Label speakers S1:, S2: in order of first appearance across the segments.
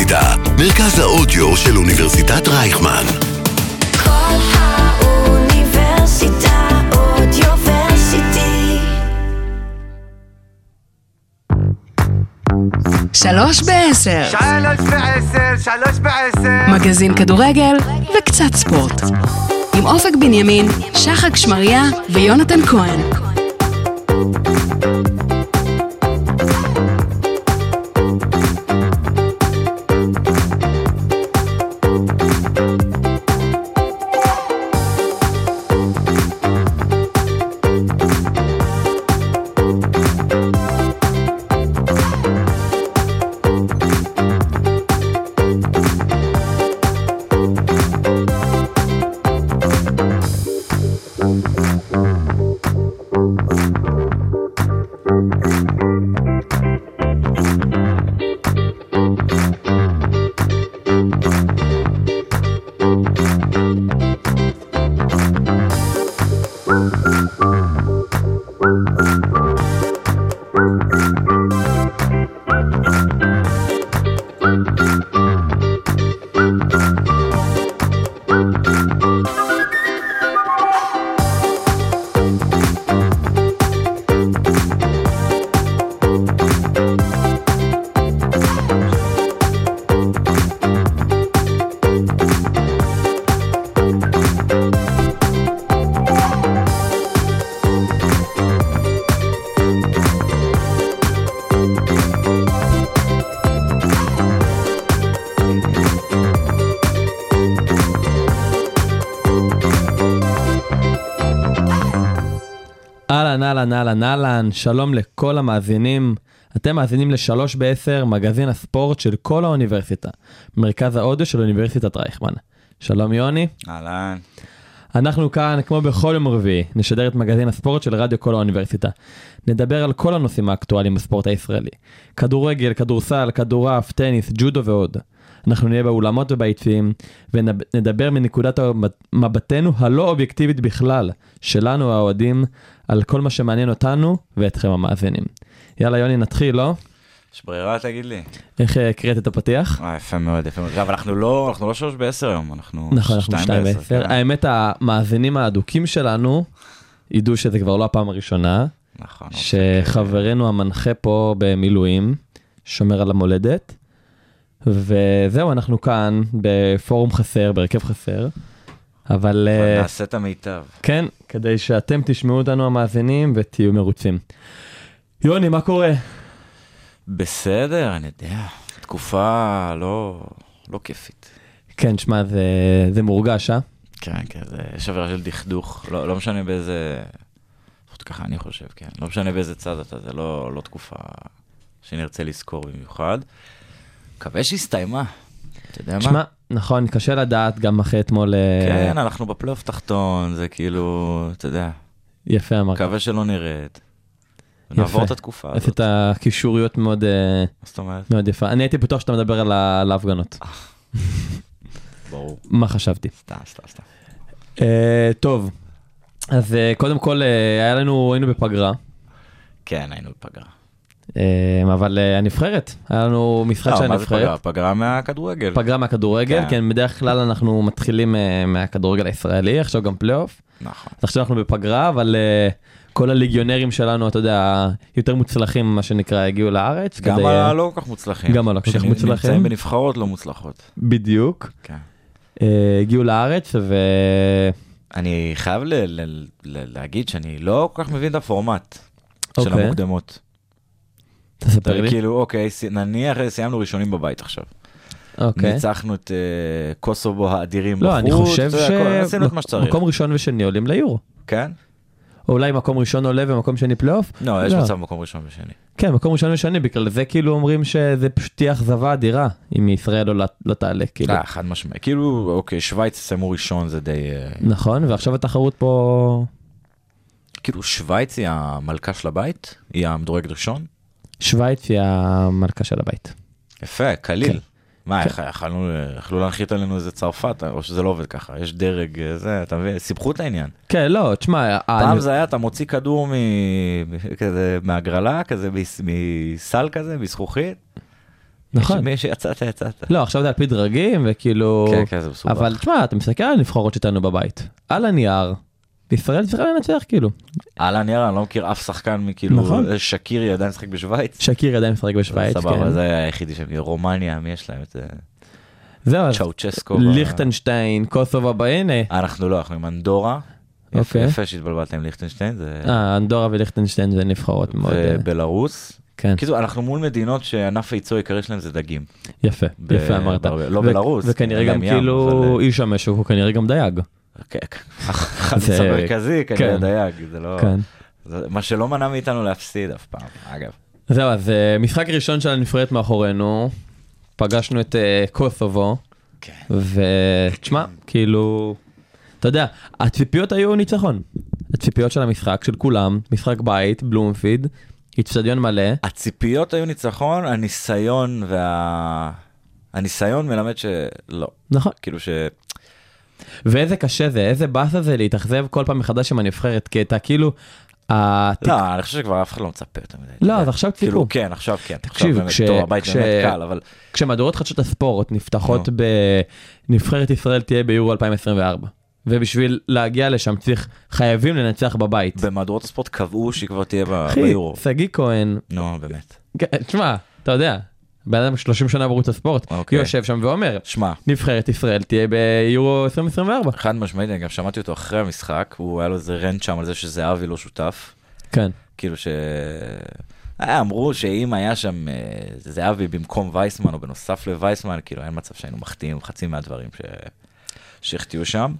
S1: ידע, מרכז האודיו של אוניברסיטת רייכמן.
S2: כל האוניברסיטה אודיוורסיטי.
S3: שלוש בעשר,
S4: שלוש בעשר, שלוש בעשר.
S3: מגזין כדורגל וקצת ספורט. עם אופק בנימין, שחק שמריה ויונתן כהן.
S5: אהלן, אהלן, אהלן, אהלן, שלום לכל המאזינים. אתם מאזינים לשלוש בעשר, מגזין הספורט של כל האוניברסיטה. מרכז האודיו של אוניברסיטת רייכמן. שלום יוני,
S4: אהלן.
S5: אנחנו כאן, כמו בכל יום רביעי, נשדר את מגזין הספורט של רדיו כל האוניברסיטה. נדבר על כל הנושאים האקטואליים בספורט הישראלי. כדורגל, כדורסל, כדורעף, טניס, ג'ודו ועוד. אנחנו נהיה באולמות וביציעים, ונדבר מנקודת מבטנו הלא אובייקטיבית בכלל, שלנו האוהדים, על כל מה שמעניין אותנו ואתכם המאזינים. יאללה יוני, נתחיל, לא?
S4: יש ברירה תגיד לי.
S5: איך אה, הקראת את הפתיח?
S4: אה, יפה מאוד, יפה מאוד. אבל אנחנו לא, אנחנו לא שלוש בעשר היום, אנחנו
S5: נכון, אנחנו שתיים בעשר.
S4: כן.
S5: האמת, המאזינים האדוקים שלנו ידעו שזה כבר לא הפעם הראשונה.
S4: נכון.
S5: שחברנו המנחה פה במילואים, שומר על המולדת. וזהו, אנחנו כאן בפורום חסר, בהרכב חסר. אבל
S4: אבל
S5: אה,
S4: נעשה את המיטב.
S5: כן, כדי שאתם תשמעו אותנו המאזינים ותהיו מרוצים. יוני, מה קורה?
S4: בסדר, אני יודע. תקופה לא, לא כיפית.
S5: כן, שמע, זה, זה מורגש, אה?
S4: כן, כן, זה, יש עבירה של דכדוך. לא, לא משנה באיזה... לפחות ככה אני חושב, כן. לא משנה באיזה צד אתה, זה לא, לא תקופה שנרצה לזכור במיוחד. מקווה שהסתיימה. אתה יודע מה?
S5: שמע, נכון, קשה לדעת גם אחרי אתמול. אה,
S4: כן, אנחנו בפלייאוף תחתון, זה כאילו, אתה יודע,
S5: יפה אמרת.
S4: מקווה שלא נרד. נעבור את התקופה
S5: עשית
S4: הזאת.
S5: קישוריות מאוד אה,
S4: מה זאת אומרת?
S5: מאוד יפה. אני הייתי בטוח שאתה מדבר על ה- על ההפגנות.
S4: ברור.
S5: מה חשבתי?
S4: סתם, סתם, סתם.
S5: אה, טוב, אז אה, קודם כל אה, היה לנו, היינו בפגרה,
S4: כן, היינו בפגרה.
S5: אה, אבל אה, הנבחרת, היה לנו משחק של
S4: לא, מה זה פגרה?
S5: הנבחרת,
S4: פגרה מהכדורגל.
S5: פגרה מהכדורגל,
S4: כן.
S5: כן, בדרך כלל אנחנו מתחילים אה, מהכדורגל הישראלי, עכשיו גם פלייאוף,
S4: נכון.
S5: אז עכשיו אנחנו בפגרה, אבל אה, כל הליגיונרים שלנו, אתה יודע, יותר מוצלחים, מה שנקרא, הגיעו לארץ,
S4: גם
S5: כדי, אה,
S4: הלא כל כך מוצלחים.
S5: גם הלא כל כך
S4: שנ-
S5: מוצלחים.
S4: נמצאים בנבחרות לא מוצלחות.
S5: בדיוק,
S4: כן.
S5: אה, הגיעו לארץ, ו...
S4: אני חייב ל- ל- ל- להגיד שאני לא כל כך מבין את הפורמט של
S5: אוקיי.
S4: המוקדמות. אתה
S5: תספר לי,
S4: כאילו, אוקיי, ס- נניח סיימנו ראשונים בבית עכשיו.
S5: אוקיי.
S4: ניצחנו את אה, קוסובו האדירים בחוץ.
S5: לא, אני חושב
S4: אתה יודע, הכל,
S5: ש...
S4: עשינו את מה שצריך.
S5: מקום ראשון ושני עולים ליורו.
S4: כן?
S5: או אולי מקום ראשון עולה ומקום שני פלייאוף?
S4: לא, יש מצב מקום ראשון ושני.
S5: כן, מקום ראשון ושני, בגלל זה כאילו אומרים שזה פשוט תהיה אכזבה אדירה, אם ישראל לא, לא תעלה, כאילו.
S4: אה, חד משמעי. כאילו, אוקיי, שווייץ סיימו ראשון זה די... אה,
S5: נכון, ועכשיו התחרות פה...
S4: כאילו, שווייץ היא המלכה של הבית? היא המדורגת ראשון?
S5: שווייץ היא המלכה של הבית.
S4: יפה,
S5: כן.
S4: קליל. מה, איך- יכלנו, יכלו להנחית עלינו איזה צרפת, או שזה לא עובד ככה, יש דרג, אה, זה, אתה מבין, סיבכו את העניין.
S5: כן, לא, תשמע,
S4: פעם
S5: אני-
S4: זה היה, אתה מוציא כדור מ... כזה, מהגרלה, כזה מס- מסל כזה, מזכוכית,
S5: נכון.
S4: מי שיצאת, יצאת.
S5: לא, עכשיו זה על פי דרגים, וכאילו...
S4: כן, כן, זה מסובך.
S5: אבל תשמע, אתה מסתכל על הנבחרות שלנו בבית, על הנייר, ישראל צריכה לנצח כאילו.
S4: על הנייר אני לא מכיר אף שחקן מכאילו, אה,
S5: נכון.
S4: שקירי עדיין משחק בשוויץ.
S5: שקירי עדיין משחק בשוויץ,
S4: סבבה,
S5: כן.
S4: זה היחידי שם, רומניה, מי יש להם את זה?
S5: זהו, אז
S4: צ'אוצ'סקו.
S5: ליכטנשטיין, קוסובה, ב- הנה.
S4: אנחנו לא, אנחנו עם אנדורה. יפה,
S5: אוקיי.
S4: יפה שהתבלבלת עם ליכטנשטיין, זה...
S5: אה, אנדורה וליכטנשטיין זה נבחרות מאוד... אה,
S4: ובלרוס.
S5: כן,
S4: כאילו, אנחנו מול מדינות שענף הייצוא העיקרי שלהם זה דגים.
S5: יפה,
S4: ב-
S5: יפה אמרת.
S4: בהרבה- לא
S5: ו-
S4: בלרוס,
S5: וכנראה
S4: אין
S5: גם
S4: להם ים,
S5: כאילו
S4: אבל- אה,
S5: איש המשהו, הוא כנראה גם דייג.
S4: כן, כן. החלוץ
S5: זה-
S4: המרכזי, כנראה
S5: כן.
S4: דייג, זה לא...
S5: כן.
S4: זה מה שלא מנע מאיתנו להפסיד אף פעם, אגב.
S5: זהו, אז אה, משחק ראשון של הנפרדת מאחורינו, פגשנו את אה, קוסובו,
S4: כן.
S5: ותשמע, כאילו, אתה יודע, הציפיות היו ניצחון. הציפיות של המשחק, של כולם, משחק בית, בלומפיד, אצטדיון מלא,
S4: הציפיות היו ניצחון, הניסיון וה... הניסיון מלמד שלא.
S5: נכון.
S4: כאילו ש...
S5: ואיזה קשה זה, איזה באסה זה להתאכזב כל פעם מחדש עם הנבחרת, כי אתה כאילו, התק-
S4: לא, אני חושב שכבר אף אחד לא מצפה יותר מדי.
S5: לא, אז עכשיו ציפו.
S4: כאילו, כן, עכשיו כן.
S5: תקשיב,
S4: עכשיו באמת,
S5: כש-
S4: טוב, הבית
S5: כש-
S4: באמת קל, אבל...
S5: כשמהדורות חדשות הספורט נפתחות
S4: נו.
S5: בנבחרת ישראל תהיה ביורו 2024. ובשביל להגיע לשם צריך, חייבים לנצח בבית.
S4: במהדורות הספורט קבעו שהיא כבר תהיה ב-
S5: אחי,
S4: ביורו.
S5: שגיא כהן,
S4: נו, באמת.
S5: כן, תשמע, אתה יודע, בן אדם 30 שנה בערוץ הספורט,
S4: אוקיי.
S5: יושב שם ואומר,
S4: שמע,
S5: נבחרת ישראל תהיה ביורו 2024.
S4: חד משמעית, אני גם שמעתי אותו אחרי המשחק, הוא היה לו איזה רנט שם על זה שזהבי לא שותף.
S5: כן,
S4: כאילו ש... אה, אמרו שאם היה שם אה, זהבי במקום וייסמן או בנוסף לווייסמן, כאילו אין מצב שהיינו מחטיאים חצי מהדברים ש... שהחטיאו שם.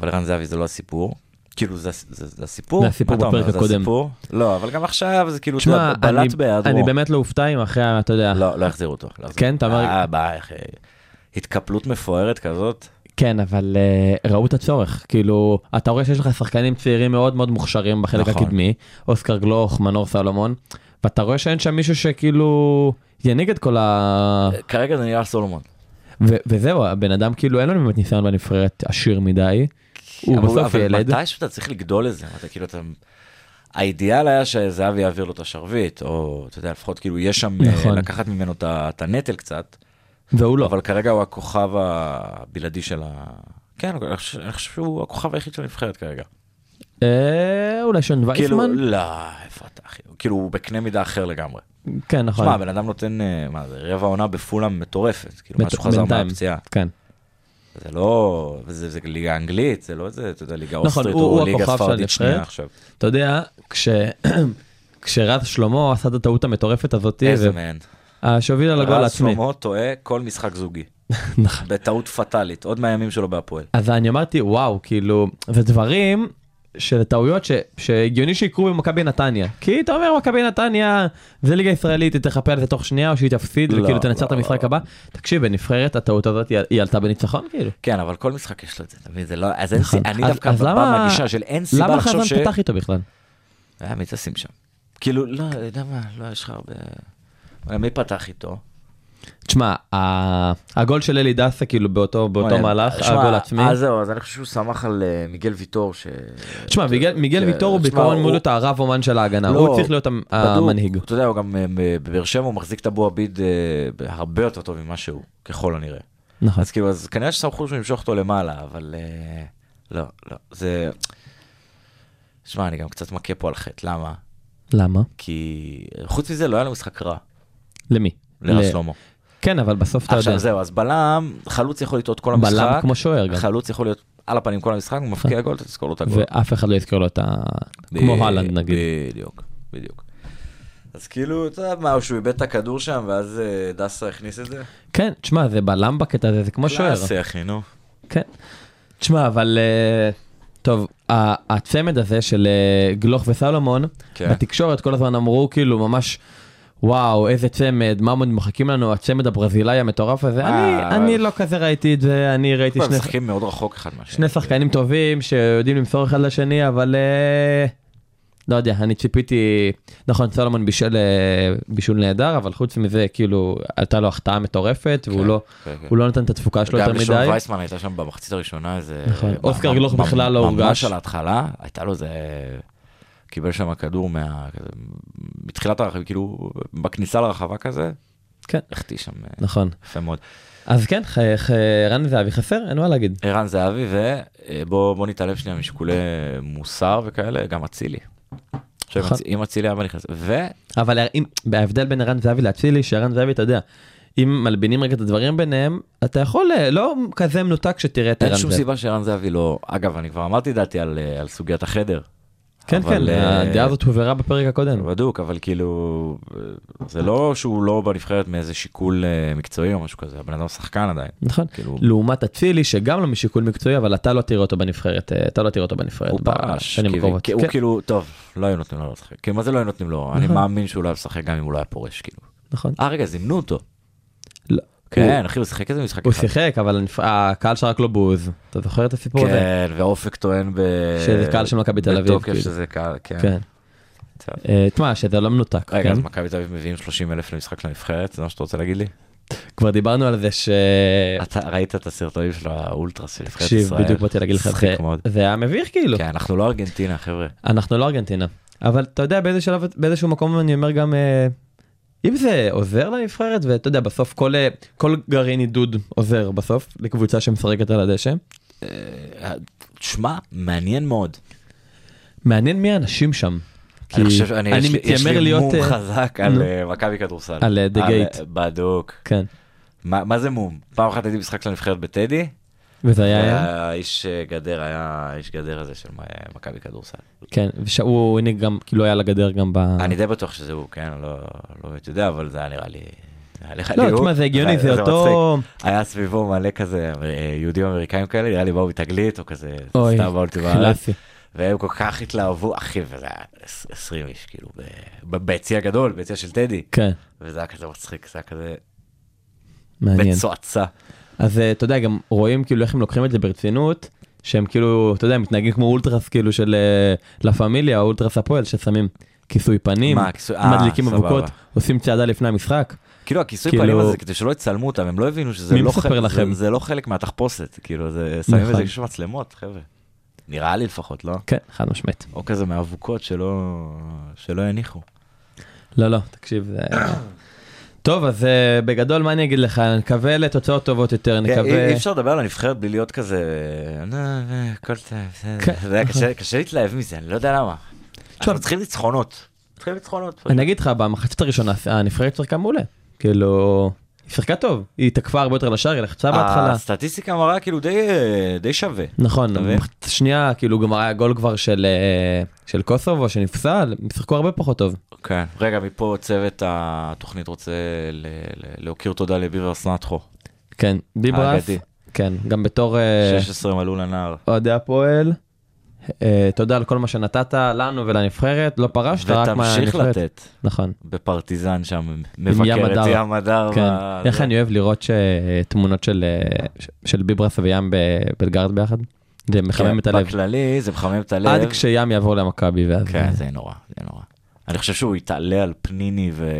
S4: אבל ערן זהבי זה לא הסיפור. כאילו זה, זה, זה הסיפור,
S5: זה הסיפור
S4: מה אתה אומר?
S5: בפרק
S4: זה
S5: הקודם.
S4: הסיפור? לא, אבל גם עכשיו זה כאילו,
S5: תשמע,
S4: אתה בלט
S5: אני-
S4: בהיעדרו.
S5: אני באמת לא אופתע אם אחרי, ה- אתה יודע,
S4: לא, לא יחזירו אותו. לא יחזירו.
S5: כן, אתה אומר-
S4: אה, ביי, אחי. התקפלות מפוארת כזאת.
S5: כן, אבל אה, ראו את הצורך, כאילו, אתה רואה שיש לך שחקנים צעירים מאוד מאוד מוכשרים בחלק
S4: נכון.
S5: הקדמי, אוסקר גלוך, מנור סלומון, ואתה רואה שאין שם מישהו שכאילו ינהיג את כל ה...
S4: אה, כרגע זה נראה סולומון.
S5: ו- וזהו, הבן אדם כאילו אין לו באמת ניסיון בנבחרת עשיר מדי, הוא
S4: כן, אבל-
S5: בסוף ילד.
S4: אבל מתישהו אתה צריך לגדול לזה, אתה כאילו, אתה... האידיאל היה שזהבי יעביר לו את השרביט, או אתה יודע, לפחות כאילו יש שם, אה,
S5: נכון.
S4: לקחת ממנו את ה- את הנטל קצת,
S5: והוא לא.
S4: אבל כרגע הוא הכוכב הבלעדי של ה... כן, אני חושב אני חושב שהוא הכוכב היחיד של הנבחרת כרגע.
S5: אה, אולי שון
S4: כאילו,
S5: וייסמן?
S4: לא, איפה אתה אחי? כאילו, הוא בקנה מידה אחר לגמרי.
S5: כן, נכון.
S4: שמע, הבן אדם נותן, אה, מה זה, רבע עונה בפולאם מטורפת, כאילו,
S5: בת-
S4: מאז שהוא חזר
S5: בינתיים.
S4: מהפציעה.
S5: כן.
S4: זה לא, זה, זה ליגה אנגלית, זה לא איזה, אתה יודע, ליגה
S5: נכון,
S4: אוסטרית
S5: הוא-
S4: או
S5: הוא
S4: ליגה
S5: הכוכב של
S4: ספרדית שנייה
S5: הנבחרת.
S4: עכשיו.
S5: אתה יודע, כש... כשרז שלמה עשה את הטעות המטורפת הזאת,
S4: איזה מהן.
S5: שהובילה לגול
S4: רז
S5: העצמי.
S4: שלמה טועה כל משחק זוגי,
S5: נכון.
S4: בטעות פטאלית, עוד מהימים שלו בהפועל.
S5: אז אני אמרתי וואו כאילו זה דברים של טעויות ש, שהגיוני שיקרו במכבי נתניה כי אתה אומר מכבי נתניה זה ליגה ישראלית היא תחפה על זה תוך שנייה או שהיא תפסיד
S4: לא,
S5: וכאילו תנצח
S4: לא,
S5: את המשחק הבא תקשיב בנבחרת הטעות הזאת היא- היא עלתה בניצחון כאילו.
S4: כן, אבל כל משחק יש לו את זה, אתה מבין? זה לא... אז אין סי- אני
S5: נכון. אז-
S4: דווקא
S5: אז למה-
S4: בגישה של אין סיבה
S5: למה
S4: לחשוב
S5: חזן
S4: ש...
S5: פתח איתו בכלל?
S4: אה, מי תשים שם? כאילו, לא, אתה יודע מה, לא, יש לך הרבה... וואלה, מי פתח איתו?
S5: תשמע ה- הגול של אלי דסה כאילו באותו באותו
S4: וואלה,
S5: מהלך
S4: אוקיי. שמע,
S5: הגול עצמי.
S4: אז זהו, אז אני חושב שהוא סמך על אה, מיגל ויטור, ש...
S5: תשמע מיגל- מיגל
S4: כן,
S5: ויטור הוא
S4: תשמע,
S5: בעיקרון
S4: הוא-
S5: מול את הרב אומן של ההגנה
S4: לא,
S5: הוא צריך להיות המ-
S4: בדוק.
S5: המנהיג.
S4: אתה יודע, הוא גם אה, בבאר שבע הוא מחזיק את אבו עביד אה, הרבה יותר טוב ממה שהוא, ככל הנראה.
S5: נכון.
S4: אז כאילו, אז כנראה שסמכו שהוא ימשוך אותו למעלה, אבל אה, לא, לא, זה... שמע, אני גם קצת מכה פה על חטא, למה?
S5: למה?
S4: כי חוץ מזה לא היה לו משחק רע,
S5: למי?
S4: לרז
S5: ל-
S4: שלמה.
S5: כן אבל בסוף אתה יודע.
S4: עכשיו זהו, אז בלם, חלוץ יכול לטעות כל המשחק.
S5: בלם כמו שוער גם. אה.
S4: חלוץ יכול להיות על הפנים כל המשחק, הוא מבקיע גול, אתה תזכור לו את הגול.
S5: ואף אחד לא יזכור לו את ה... כמו
S4: ב-
S5: הלנד נגיד.
S4: בדיוק, בדיוק. אז כאילו, אתה יודע מה, שהוא איבד את הכדור שם, ואז אה, דסה הכניס את זה?
S5: כן, תשמע, זה בלם בקטע הזה, זה כמו שוער.
S4: קלאסי, אחי, נו.
S5: כן. תשמע, אבל... אה, טוב, ה- הצמד הזה של אה, גלוך וסלומון,
S4: כן.
S5: בתקשורת כל הזמן אמרו כאילו ממש, וואו, איזה צמד, מה עוד מחכים לנו, הצמד הברזילאי המטורף הזה. אני-
S4: אה,
S5: אני
S4: אבל-
S5: לא כזה ראיתי את זה, אני ראיתי
S4: הם
S5: שני
S4: משחקים מאוד רחוק אחד מהשני.
S5: שני שחקנים טובים שיודעים למסור אחד לשני, אבל אה, לא יודע, אני ציפיתי, נכון, סולומון בישל אה, בישול נהדר, אבל חוץ מזה, כאילו, הייתה לו החטאה מטורפת, והוא
S4: כן,
S5: לא-
S4: כן, כן.
S5: הוא לא נתן את התפוקה שלו יותר
S4: גם לשון
S5: מדי.
S4: וייסמן הייתה שם במחצית הראשונה איזה...
S5: נכון.
S4: ממש-
S5: אוסקר גלוך
S4: ממש-
S5: בכלל לא הורגש.
S4: ממש על ההתחלה, הייתה לו איזה... קיבל שם כדור מה... כזה- מתחילת הרחבה, כאילו, בכניסה לרחבה כזה,
S5: כן.
S4: החטיא שם אה,
S5: נכון.
S4: יפה מאוד.
S5: אז כן, ח- ח- רן זהבי חסר, אין מה להגיד.
S4: ערן זהבי, ובוא נתעלם שנייה משיקולי מוסר וכאלה, גם אצילי. עכשיו, אם
S5: נכון.
S4: אצ- אם אצילי היה נכנס,
S5: אבל אם, בהבדל בין ערן זהבי לאצילי, שערן זאבי, אתה יודע, אם מלבינים רגע את הדברים ביניהם, אתה יכול, אה, לא כזה מנותק שתראה את
S4: ואין
S5: ערן
S4: שום
S5: זהבי.
S4: סיבה שערן זהבי לא, אגב, אני כבר אמרתי דעתי על אה, על סוגיית החדר.
S5: כן,
S4: אבל,
S5: כן,
S4: אה,
S5: הדעה הזאת הובהרה בפרק הקודם.
S4: בדוק, אבל כאילו, אה, זה לא שהוא לא בנבחרת מאיזה שיקול אה, מקצועי או משהו כזה, הבן אדם שחקן עדיין.
S5: נכון.
S4: כאילו,
S5: לעומת אצילי, שגם לא משיקול מקצועי, אבל אתה לא תראה אותו בנבחרת, אה, אתה לא תראה אותו בנבחרת.
S4: הוא פרש,
S5: בשנים
S4: כי-
S5: הקרובות.
S4: כי הוא
S5: כן,
S4: כאילו, טוב, לא היו נותנים לו לשחק. כאילו, מה זה לא היו נותנים לו? אני מאמין שהוא לא היה משחק גם אם הוא לא היה פורש, כאילו.
S5: נכון.
S4: אה, רגע, זימנו אותו.
S5: לא.
S4: כן, אחי, הוא שיחק איזה משחק
S5: הוא
S4: אחד.
S5: שיחק, אבל הנפ- הקהל שרק לו בוז. אתה זוכר את הסיפור הזה?
S4: כן, ואופק טוען ב...
S5: שזה קהל של מכבי תל אביב,
S4: בתוקף
S5: כאילו.
S4: שזה קהל, כן.
S5: כן.
S4: טוב.
S5: אה, תשמע, שזה לא מנותק.
S4: רגע,
S5: כן?
S4: אז מכבי תל אביב מביאים 30 אלף למשחק לנבחרת, זה מה שאתה רוצה להגיד לי?
S5: כן. כבר דיברנו על זה ש...
S4: אתה ראית את הסרטונים של האולטרס של נבחרת אה, ישראל?
S5: תקשיב, בדיוק באתי להגיד לך, זה-
S4: מצחיק מאוד.
S5: זה היה מביך כאילו.
S4: כן, אנחנו לא ארגנטינה, חבר'ה.
S5: אנחנו לא ארגנטינה. אבל אתה יודע, באיזה שלב, באיזשהו מקום אני אומר גם, אה, אם זה עוזר לנבחרת, ואתה יודע, בסוף כל, אה, כל גרעין עידוד עוזר בסוף לקבוצה שמשחקת על הדשא.
S4: שמע, מעניין מאוד.
S5: מעניין מי האנשים שם. כי
S4: אני חושב, אני, יש לי- יש
S5: מתיימר
S4: לי מום
S5: אה,
S4: חזק על
S5: נו.
S4: אה, מכבי כדורסל.
S5: על, אה, The Gate.
S4: בדוק.
S5: כן,
S4: מה מה זה מום? פעם אחת הייתי במשחק של הנבחרת בטדי,
S5: וזה היה, היה,
S4: והאיש אה, גדר היה האיש גדר הזה של אה, מכבי כדורסל.
S5: כן, וש- הוא הנה גם, כאילו היה על הגדר גם ב...
S4: אני די בטוח שזה הוא, כן? לא לא באמת יודע, אבל זה היה נראה לי... היה לך
S5: לא,
S4: לי הוא.
S5: תשמע, זה הגיוני, זה
S4: מצחיק.
S5: אותו...
S4: היה סביבו מלא כזה אה, יהודים אמריקאים כאלה, נראה לי באו מתגלית או כזה,
S5: אוי,
S4: סתם באו אותי בארץ,
S5: קלאסי.
S4: והם כל כך התלהבו, אחי, וזה היה עש- 20 איש, כאילו, ב- ב- ביציע גדול, ביציע של טדי,
S5: כן,
S4: וזה היה כזה מצחיק, זה היה כזה
S5: מעניין.
S4: בצועצה.
S5: אז אה, אתה יודע, גם רואים כאילו איך הם לוקחים את זה ברצינות, שהם כאילו, אתה יודע, מתנהגים כמו אולטרס כאילו של אה, לה פמיליה, או אולטרס הפועל, ששמים כיסוי פנים,
S4: מה, כיסוי- אה,
S5: מדליקים
S4: סבבה.
S5: אבוקות, עושים צעדה לפני המשחק.
S4: כאילו הכיסוי
S5: כאילו-
S4: פנים הזה כדי שלא יצלמו אותם, הם לא הבינו שזה
S5: מי
S4: לא
S5: מספר
S4: חלק-
S5: לכם?
S4: זה- זה לא חלק מהתחפושת, כאילו, זה- שמים את
S5: נכון.
S4: זה יש מצלמות, חבר'ה. נראה לי לפחות, לא?
S5: כן, חד משמעית.
S4: או כזה מאבוקות שלא שלא יניחו.
S5: לא, לא, תקשיב. זה- טוב, אז אה, בגדול, מה אני אגיד לך? נקווה לתוצאות טובות יותר,
S4: כן, אי
S5: נקווה...
S4: אי אפשר לדבר על הנבחרת בלי להיות כזה, "נו, אה, הכל טוב,
S5: כן,
S4: בסדר." זה היה קשה- קשה להתלהב מזה, אני לא יודע למה. אנחנו צריכים ניצחונות. צריכים ניצחונות.
S5: אני אגיד לך, במחצית הראשונה הנבחרת שיחקה מעולה. כאילו, היא שיחקה טוב, היא תקפה הרבה יותר לשער, היא
S4: אה,
S5: לחצה בהתחלה.
S4: הסטטיסטיקה מראה כאילו די אה, די שווה.
S5: נכון,
S4: אתה מבין?
S5: במחצית השנייה כאילו גם היה גול כבר של אה, של קוסובו שנפסל, הם שיחקו הרבה פחות טוב.
S4: כן. רגע, מפה צוות התוכנית רוצה ל- ל- להוקיר תודה לביבר סנטחו.
S5: כן, ביברס,
S4: האגדי.
S5: כן, גם בתור אה,
S4: 16 מלאו לנער.
S5: אוהדי הפועל, אה, תודה על כל מה שנתת לנו ולנבחרת, לא פרשת, רק מהנבחרת.
S4: ותמשיך לתת
S5: נכון,
S4: בפרטיזן שם,
S5: ים
S4: מבקר את
S5: הדר.
S4: ים הדר.
S5: כן.
S4: ב-
S5: איך
S4: אה, זה.
S5: אני אוהב לראות ש- תמונות של אה, ש- של ביברס וים בבלגרד ביחד, זה מחמם
S4: כן,
S5: את הלב.
S4: בכללי זה מחמם את הלב.
S5: עד כשים יעבור למכבי ואז...
S4: כן, זה נורא, זה נורא. אני חושב שהוא יתעלה על פניני ו...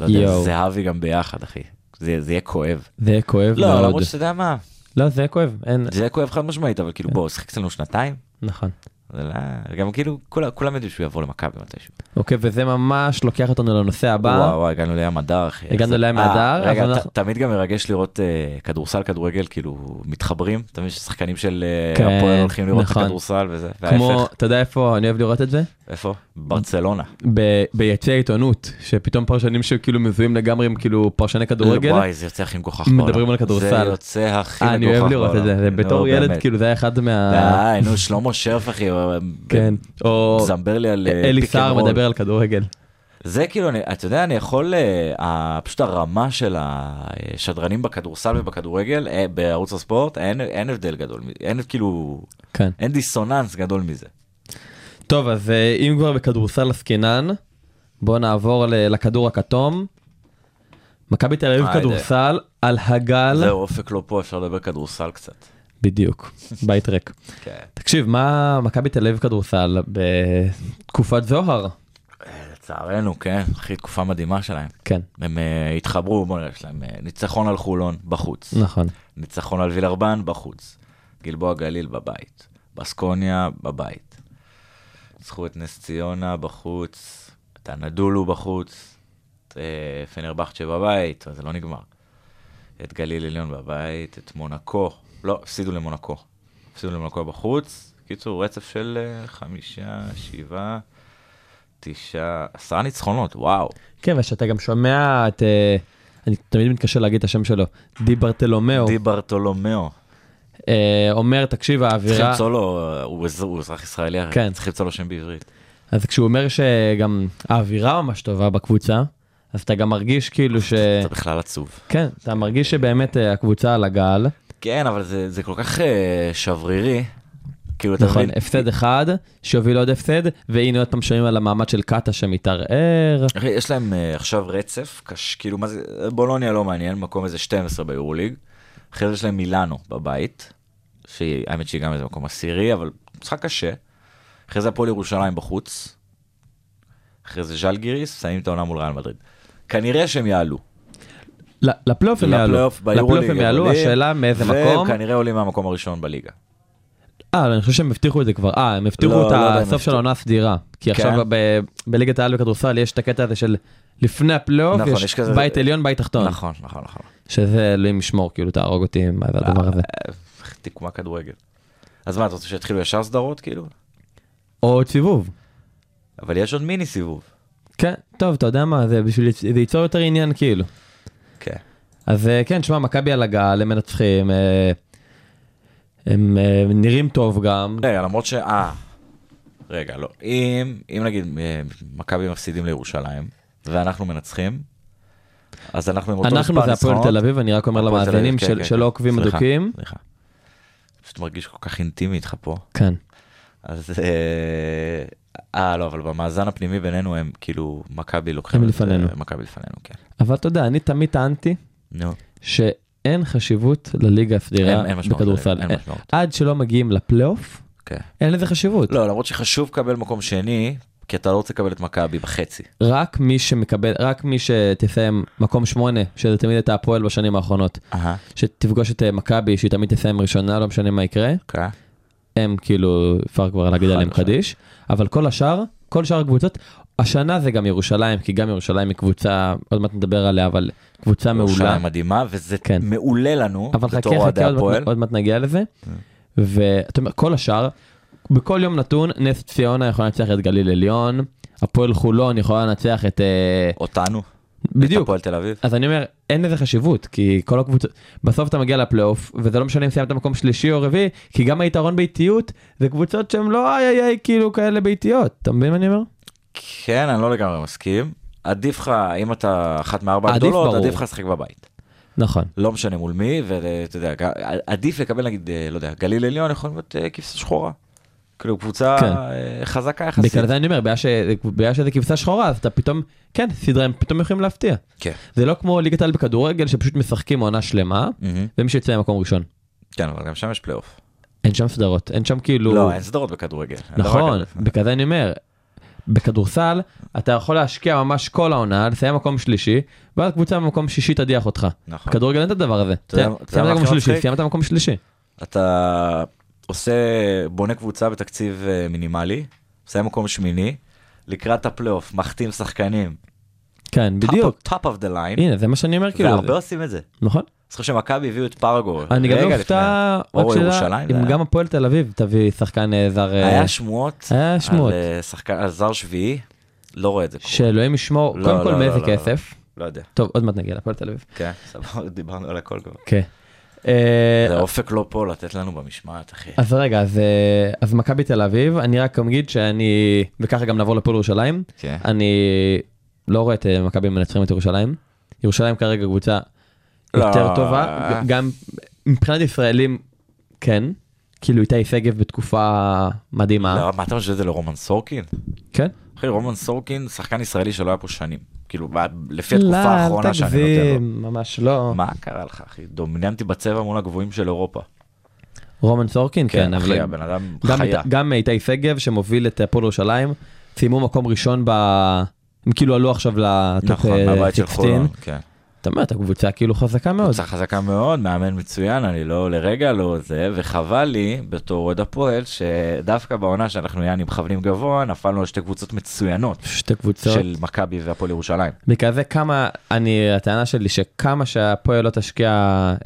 S4: לא יודע,
S5: יואו.
S4: זהבי גם ביחד, אחי. זה זה יהיה כואב.
S5: זה יהיה כואב
S4: לא,
S5: מאוד.
S4: למרות שאתה יודע מה,
S5: לא, זה יהיה כואב, אין,
S4: זה יהיה כואב חד משמעית, אבל
S5: אה.
S4: כאילו, בוא, הוא שיחק אצלנו שנתיים.
S5: נכון.
S4: זה לא... גם כאילו, כולם- כולם ידעו שהוא יבוא למכבי מתישהו.
S5: אוקיי, וזה ממש לוקח אותנו לנושא הבא.
S4: וואו, וואו, הגענו לים הדר, אחי.
S5: הגענו
S4: איך זה-
S5: לים
S4: אה,
S5: הדר,
S4: רגע,
S5: אבל
S4: ת-
S5: אנחנו-
S4: תמיד גם מרגש לראות אה, כדורסל, כדורגל, כאילו, מתחברים. אתה מבין ששחקנים של אה,
S5: כן,
S4: הפועל הולכים לראות את
S5: נכון.
S4: הכדורסל וזה.
S5: כמו,
S4: וההפך,
S5: אתה יודע איפה אני אוהב לראות את זה?
S4: איפה? ברצלונה.
S5: ב- ביציע העיתונות, שפתאום פרשנים שכאילו מזוהים לגמרי עם כאילו פרשני כדורגל.
S4: וואי, זה יוצא הכי מגוחך
S5: מדברים
S4: בעולם.
S5: על כדורסל.
S4: זה יוצא הכי
S5: אה,
S4: מגוחך
S5: אני אוהב לראות את זה, זה
S4: נו,
S5: בתור ילד
S4: באמת.
S5: כאילו זה היה אחד מה...
S4: די, נו, שלמה שרף, אחי.
S5: כן. או
S4: זמבר לי על אה,
S5: אלי
S4: פיק
S5: סער
S4: אנד רול.
S5: מדבר על כדורגל.
S4: זה כאילו, אני- אתה יודע, אני יכול, אה, ה- פשוט הרמה של השדרנים בכדורסל ובכדורגל, אה, בערוץ הספורט, אין- אין הבדל גדול, מ- אין כאילו,
S5: כן.
S4: אין דיסוננס גדול מזה.
S5: טוב, אז אה, אם כבר בכדורסל עסקינן, בואו נעבור ל- לכדור הכתום. מכבי תל אביב
S4: אה,
S5: כדורסל על הגל,
S4: זהו, אופק לא פה, אפשר לדבר כדורסל קצת.
S5: בדיוק, בית ריק. תקשיב, מה מכבי תל אביב כדורסל בתקופת זוהר?
S4: אה, לצערנו, כן, אחי, תקופה מדהימה שלהם.
S5: כן,
S4: הם אה, התחברו, בוא נראה, יש להם אה, ניצחון על חולון בחוץ,
S5: נכון.
S4: ניצחון על וילרבן בחוץ, גלבוע גליל בבית, בסקוניה בבית. ניצחו את נס ציונה בחוץ, את הנדולו בחוץ, את את אה, פנרבכצ'ה בבית, אז זה לא נגמר. את גליל עליון בבית, את מונקו, לא, הפסידו למונקו. הפסידו למונקו בחוץ. קיצור, רצף של אה, חמישה, שבעה, תשעה, עשרה ניצחונות, וואו.
S5: כן, ושאתה גם שומע את... אה, אני תמיד מתקשה להגיד את השם שלו, די ברטלומיאו,
S4: די ברטולומיאו.
S5: אה, אומר, תקשיב,
S4: צריך
S5: האווירה...
S4: למצוא לו, אה, הוא אזר- הוא אזרח ישראלי, הרי.
S5: כן.
S4: צריך למצוא לו שם בעברית.
S5: אז כשהוא אומר שגם האווירה ממש טובה בקבוצה, אז אתה גם מרגיש כאילו ש...
S4: זה בכלל עצוב.
S5: כן, אתה מרגיש שבאמת אה, הקבוצה על הגל.
S4: כן, אבל זה, זה כל כך אה, שברירי. כאילו, אתה
S5: נכון,
S4: מבין?
S5: הפסד אחד, שיוביל עוד הפסד, והנה עוד פעם שומעים על המעמד של קאטה שמתערער.
S4: אחי, יש להם אה, עכשיו רצף, קש, כאילו, מה זה, בולוניה לא מעניין, מקום איזה 12 ביורוליג. אחרי זה יש להם מילאנו בבית, שהיא, האמת שהיא גם איזה מקום עשירי, אבל משחק קשה. אחרי זה הפועל ירושלים בחוץ. אחרי זה ז'אל גיריס, מסיימים את העונה מול ריאל מדריד. כנראה שהם יעלו.
S5: ל- לפלייאוף הם יעלו,
S4: לפלייאוף, ביורוליג
S5: לפלייאוף הם יעלו,
S4: עולים,
S5: השאלה מאיזה מקום.
S4: והם כנראה עולים מהמקום הראשון בליגה.
S5: אה, אבל אני חושב שהם הבטיחו את זה כבר, אה, הם
S4: לא,
S5: הבטיחו את
S4: לא יודע אם
S5: הסוף של
S4: הבטיחו.
S5: העונה הסדירה. כי עכשיו
S4: כן.
S5: ב- בליגת העל בכדורסל יש את הקטע הזה של לפני הפלייאוף,
S4: נכון,
S5: יש
S4: יש כזה-
S5: בית עליון, בית תחתון.
S4: נכון, לא, נכון, נכון.
S5: שזה אלוהים ישמור, כאילו תהרוג אותי, מה זה הדבר הזה.
S4: אה, תקומה כדורגל. אז מה, אתה רוצה שיתחילו ישר סדרות כאילו?
S5: או סיבוב.
S4: אבל יש עוד מיני סיבוב.
S5: כן, טוב, אתה יודע מה, זה בשביל, זה ייצור יותר עניין כאילו.
S4: כן.
S5: אז אה, כן, שמע, מכבי על הגל, הם מנצחים, אה, הם אה, נראים טוב גם.
S4: רגע, למרות ש... אה, רגע, לא. אם, אם נגיד אה, מכבי מפסידים לירושלים, ואנחנו מנצחים, אז אנחנו עם אותו
S5: אנחנו
S4: מספר
S5: זה הפועל
S4: ניצחונות.
S5: תל אביב, אני רק אומר
S4: הפועל תל אביב,
S5: למאזינים
S4: כן,
S5: של-
S4: כן,
S5: שלא
S4: כן.
S5: עוקבים
S4: סליחה,
S5: אדוקים.
S4: סליחה. פשוט מרגיש כל כך אינטימי איתך פה.
S5: כן.
S4: אז... אה, אה, לא, אבל במאזן הפנימי בינינו הם כאילו מכבי לוקחים...
S5: הם
S4: את זה,
S5: לפנינו.
S4: מכבי לפנינו, כן.
S5: אבל אתה יודע, אני תמיד טענתי
S4: נו,
S5: שאין חשיבות לליגה הסדירה
S4: אין- אין משמעות
S5: בכדורסל.
S4: לליגה, אין
S5: אין-
S4: משמעות.
S5: עד שלא מגיעים לפלייאוף,
S4: כן.
S5: אין לזה חשיבות.
S4: לא, למרות שחשוב לקבל מקום שני, כי אתה לא רוצה לקבל את מכבי בחצי.
S5: רק מי שמקבל, רק מי שתסיים מקום שמונה, שזה תמיד הייתה הפועל בשנים האחרונות,
S4: אהה.
S5: שתפגוש את אה, מכבי, שהיא תמיד תסיים ראשונה, לא משנה מה יקרה,
S4: אוקיי.
S5: הם כאילו, אפשר כבר להגיד
S4: חד
S5: עליהם
S4: משמעית.
S5: קדיש, אבל כל השאר, כל שאר הקבוצות, השנה זה גם ירושלים, כי גם ירושלים היא קבוצה, עוד מעט נדבר עליה, אבל קבוצה מעולה.
S4: ירושלים מדהימה, וזה
S5: כן.
S4: מעולה לנו,
S5: אבל חכה,
S4: בתור אוהדי
S5: חכה, עוד
S4: הפועל. Mm.
S5: מעט- עוד מעט נגיע לזה. ואתה אומר, כל השאר, בכל יום נתון, נס ציונה יכולה לנצח את גליל עליון, הפועל חולון יכולה לנצח את... אה,
S4: אותנו, את
S5: בדיוק.
S4: הפועל תל אביב.
S5: אז אני אומר, אין לזה חשיבות, כי כל הקבוצות, בסוף אתה מגיע לפלייאוף, וזה לא משנה אם סיימת מקום שלישי או רביעי, כי גם היתרון באיטיות, זה קבוצות שהן לא איי איי איי כאילו כאלה באיטיות, אתה מבין מה אני אומר?
S4: כן, אני לא לגמרי מסכים. עדיף לך, אם אתה אחת מארבע
S5: עדיף,
S4: הגדולות,
S5: ברור.
S4: עדיף לך לשחק בבית.
S5: נכון.
S4: לא משנה מול מי, ואתה יודע, ג- עדיף לקבל נגיד, אה, לא יודע, גליל עליון יכול להיות אה, כבשה שחורה. כאילו קבוצה
S5: כן.
S4: אה, חזקה יחסית.
S5: בגלל זה אני אומר, בגלל ש- בגלל שזה כבשה שחורה, אז אתה פתאום, כן, סדרה הם פתאום יכולים להפתיע.
S4: כן.
S5: זה לא כמו ליגת העל בכדורגל, שפשוט משחקים עונה שלמה,
S4: מהמם.
S5: ומי שיוצא למקום ראשון.
S4: כן, אבל גם שם יש פלייאוף.
S5: אין שם סדרות, אין שם כאילו...
S4: לא, אין סדרות בכדורגל. לא אין דבר
S5: נכון,
S4: כזה.
S5: בגלל זה אני אומר, בכדורסל אתה יכול להשקיע ממש כל העונה, לסיים מקום שלישי, ואז קבוצה במקום שישי תדיח אותך.
S4: נכון.
S5: בכדורגל אין את הדבר הזה.
S4: יודע-
S5: סיימת
S4: אתה יודע מה
S5: מקום
S4: הכי
S5: שלישי,
S4: מצחיק?
S5: סיימת מקום שלישי.
S4: אתה עושה, בונה קבוצה בתקציב אה, מינימלי, מסיים מקום שמיני, לקראת הפלייאוף, מחתים שחקנים.
S5: כן, בדיוק.
S4: top of the line,
S5: הנה, זה מה שאני אומר כאילו.
S4: והרבה
S5: זה-
S4: עושים את זה.
S5: נכון.
S4: אני זוכר שמכבי הביאו את פרגו.
S5: אני גם
S4: רגע
S5: לא
S4: לפני.
S5: אופתע, רק
S4: או
S5: שאלה,
S4: ירושלים. זה
S5: אם
S4: היה.
S5: גם הפועל תל אביב תביא שחקן אה, זר, אה,
S4: היה שמועות.
S5: היה שמועות.
S4: על אה, שחקן, על זר שביעי, לא רואה את זה. קורה.
S5: שאלוהים ישמור,
S4: לא,
S5: קודם כל
S4: לא,
S5: מאיזה
S4: לא, לא, לא.
S5: כסף.
S4: לא יודע.
S5: טוב, עוד מעט נגיע להפועל תל אביב.
S4: כן, סבבה, דיברנו על הכל כבר.
S5: כן. אה,
S4: זה אופק לא פה לתת לנו במשמעת, אחי.
S5: אז רגע, אז, אה, אז מכבי תל אביב, אני רק אגיד שאני, וככה גם נעבור לפועל ירושלים,
S4: כן.
S5: אני לא רואה את אה, מכבי מנצחים את ירושלים. ירושלים כרגע קבוצה
S4: לא.
S5: יותר טובה, ג- גם מבחינת ישראלים כן, כאילו איתי שגב בתקופה מדהימה,
S4: לא, מה אתה משווה את זה לרומן סורקין?
S5: כן?
S4: אחי, רומן סורקין, שחקן ישראלי שלא היה פה שנים. כאילו, ב- לפי
S5: לא,
S4: התקופה
S5: אל
S4: האחרונה שאני נותן לו.
S5: תגזים, ממש לא.
S4: מה קרה לך, אחי? דומיננטי בצבע מול הגבוהים של אירופה.
S5: רומן סורקין, כן,
S4: אחי,
S5: אבל
S4: הבן אדם
S5: גם
S4: חיה.
S5: אית- גם איתי שגב שמוביל את הפועל ירושלים, סיימו מקום ראשון ב... הם כאילו עלו עכשיו לטופ
S4: נכון,
S5: אה,
S4: מהבית של
S5: 16.
S4: חולון. כן.
S5: זאת אומרת, הקבוצה כאילו חזקה מאוד.
S4: קבוצה חזקה מאוד, מאמן מצוין, אני לא לרגע לא זה, וחבל לי בתור אוהד הפועל, שדווקא בעונה שאנחנו יעני מכוונים גבוה, נפלנו על שתי קבוצות מצוינות
S5: שתי קבוצות.
S4: של מכבי והפועל ירושלים.
S5: בגלל זה כמה, אני, הטענה שלי שכמה שהפועל לא תשקיע,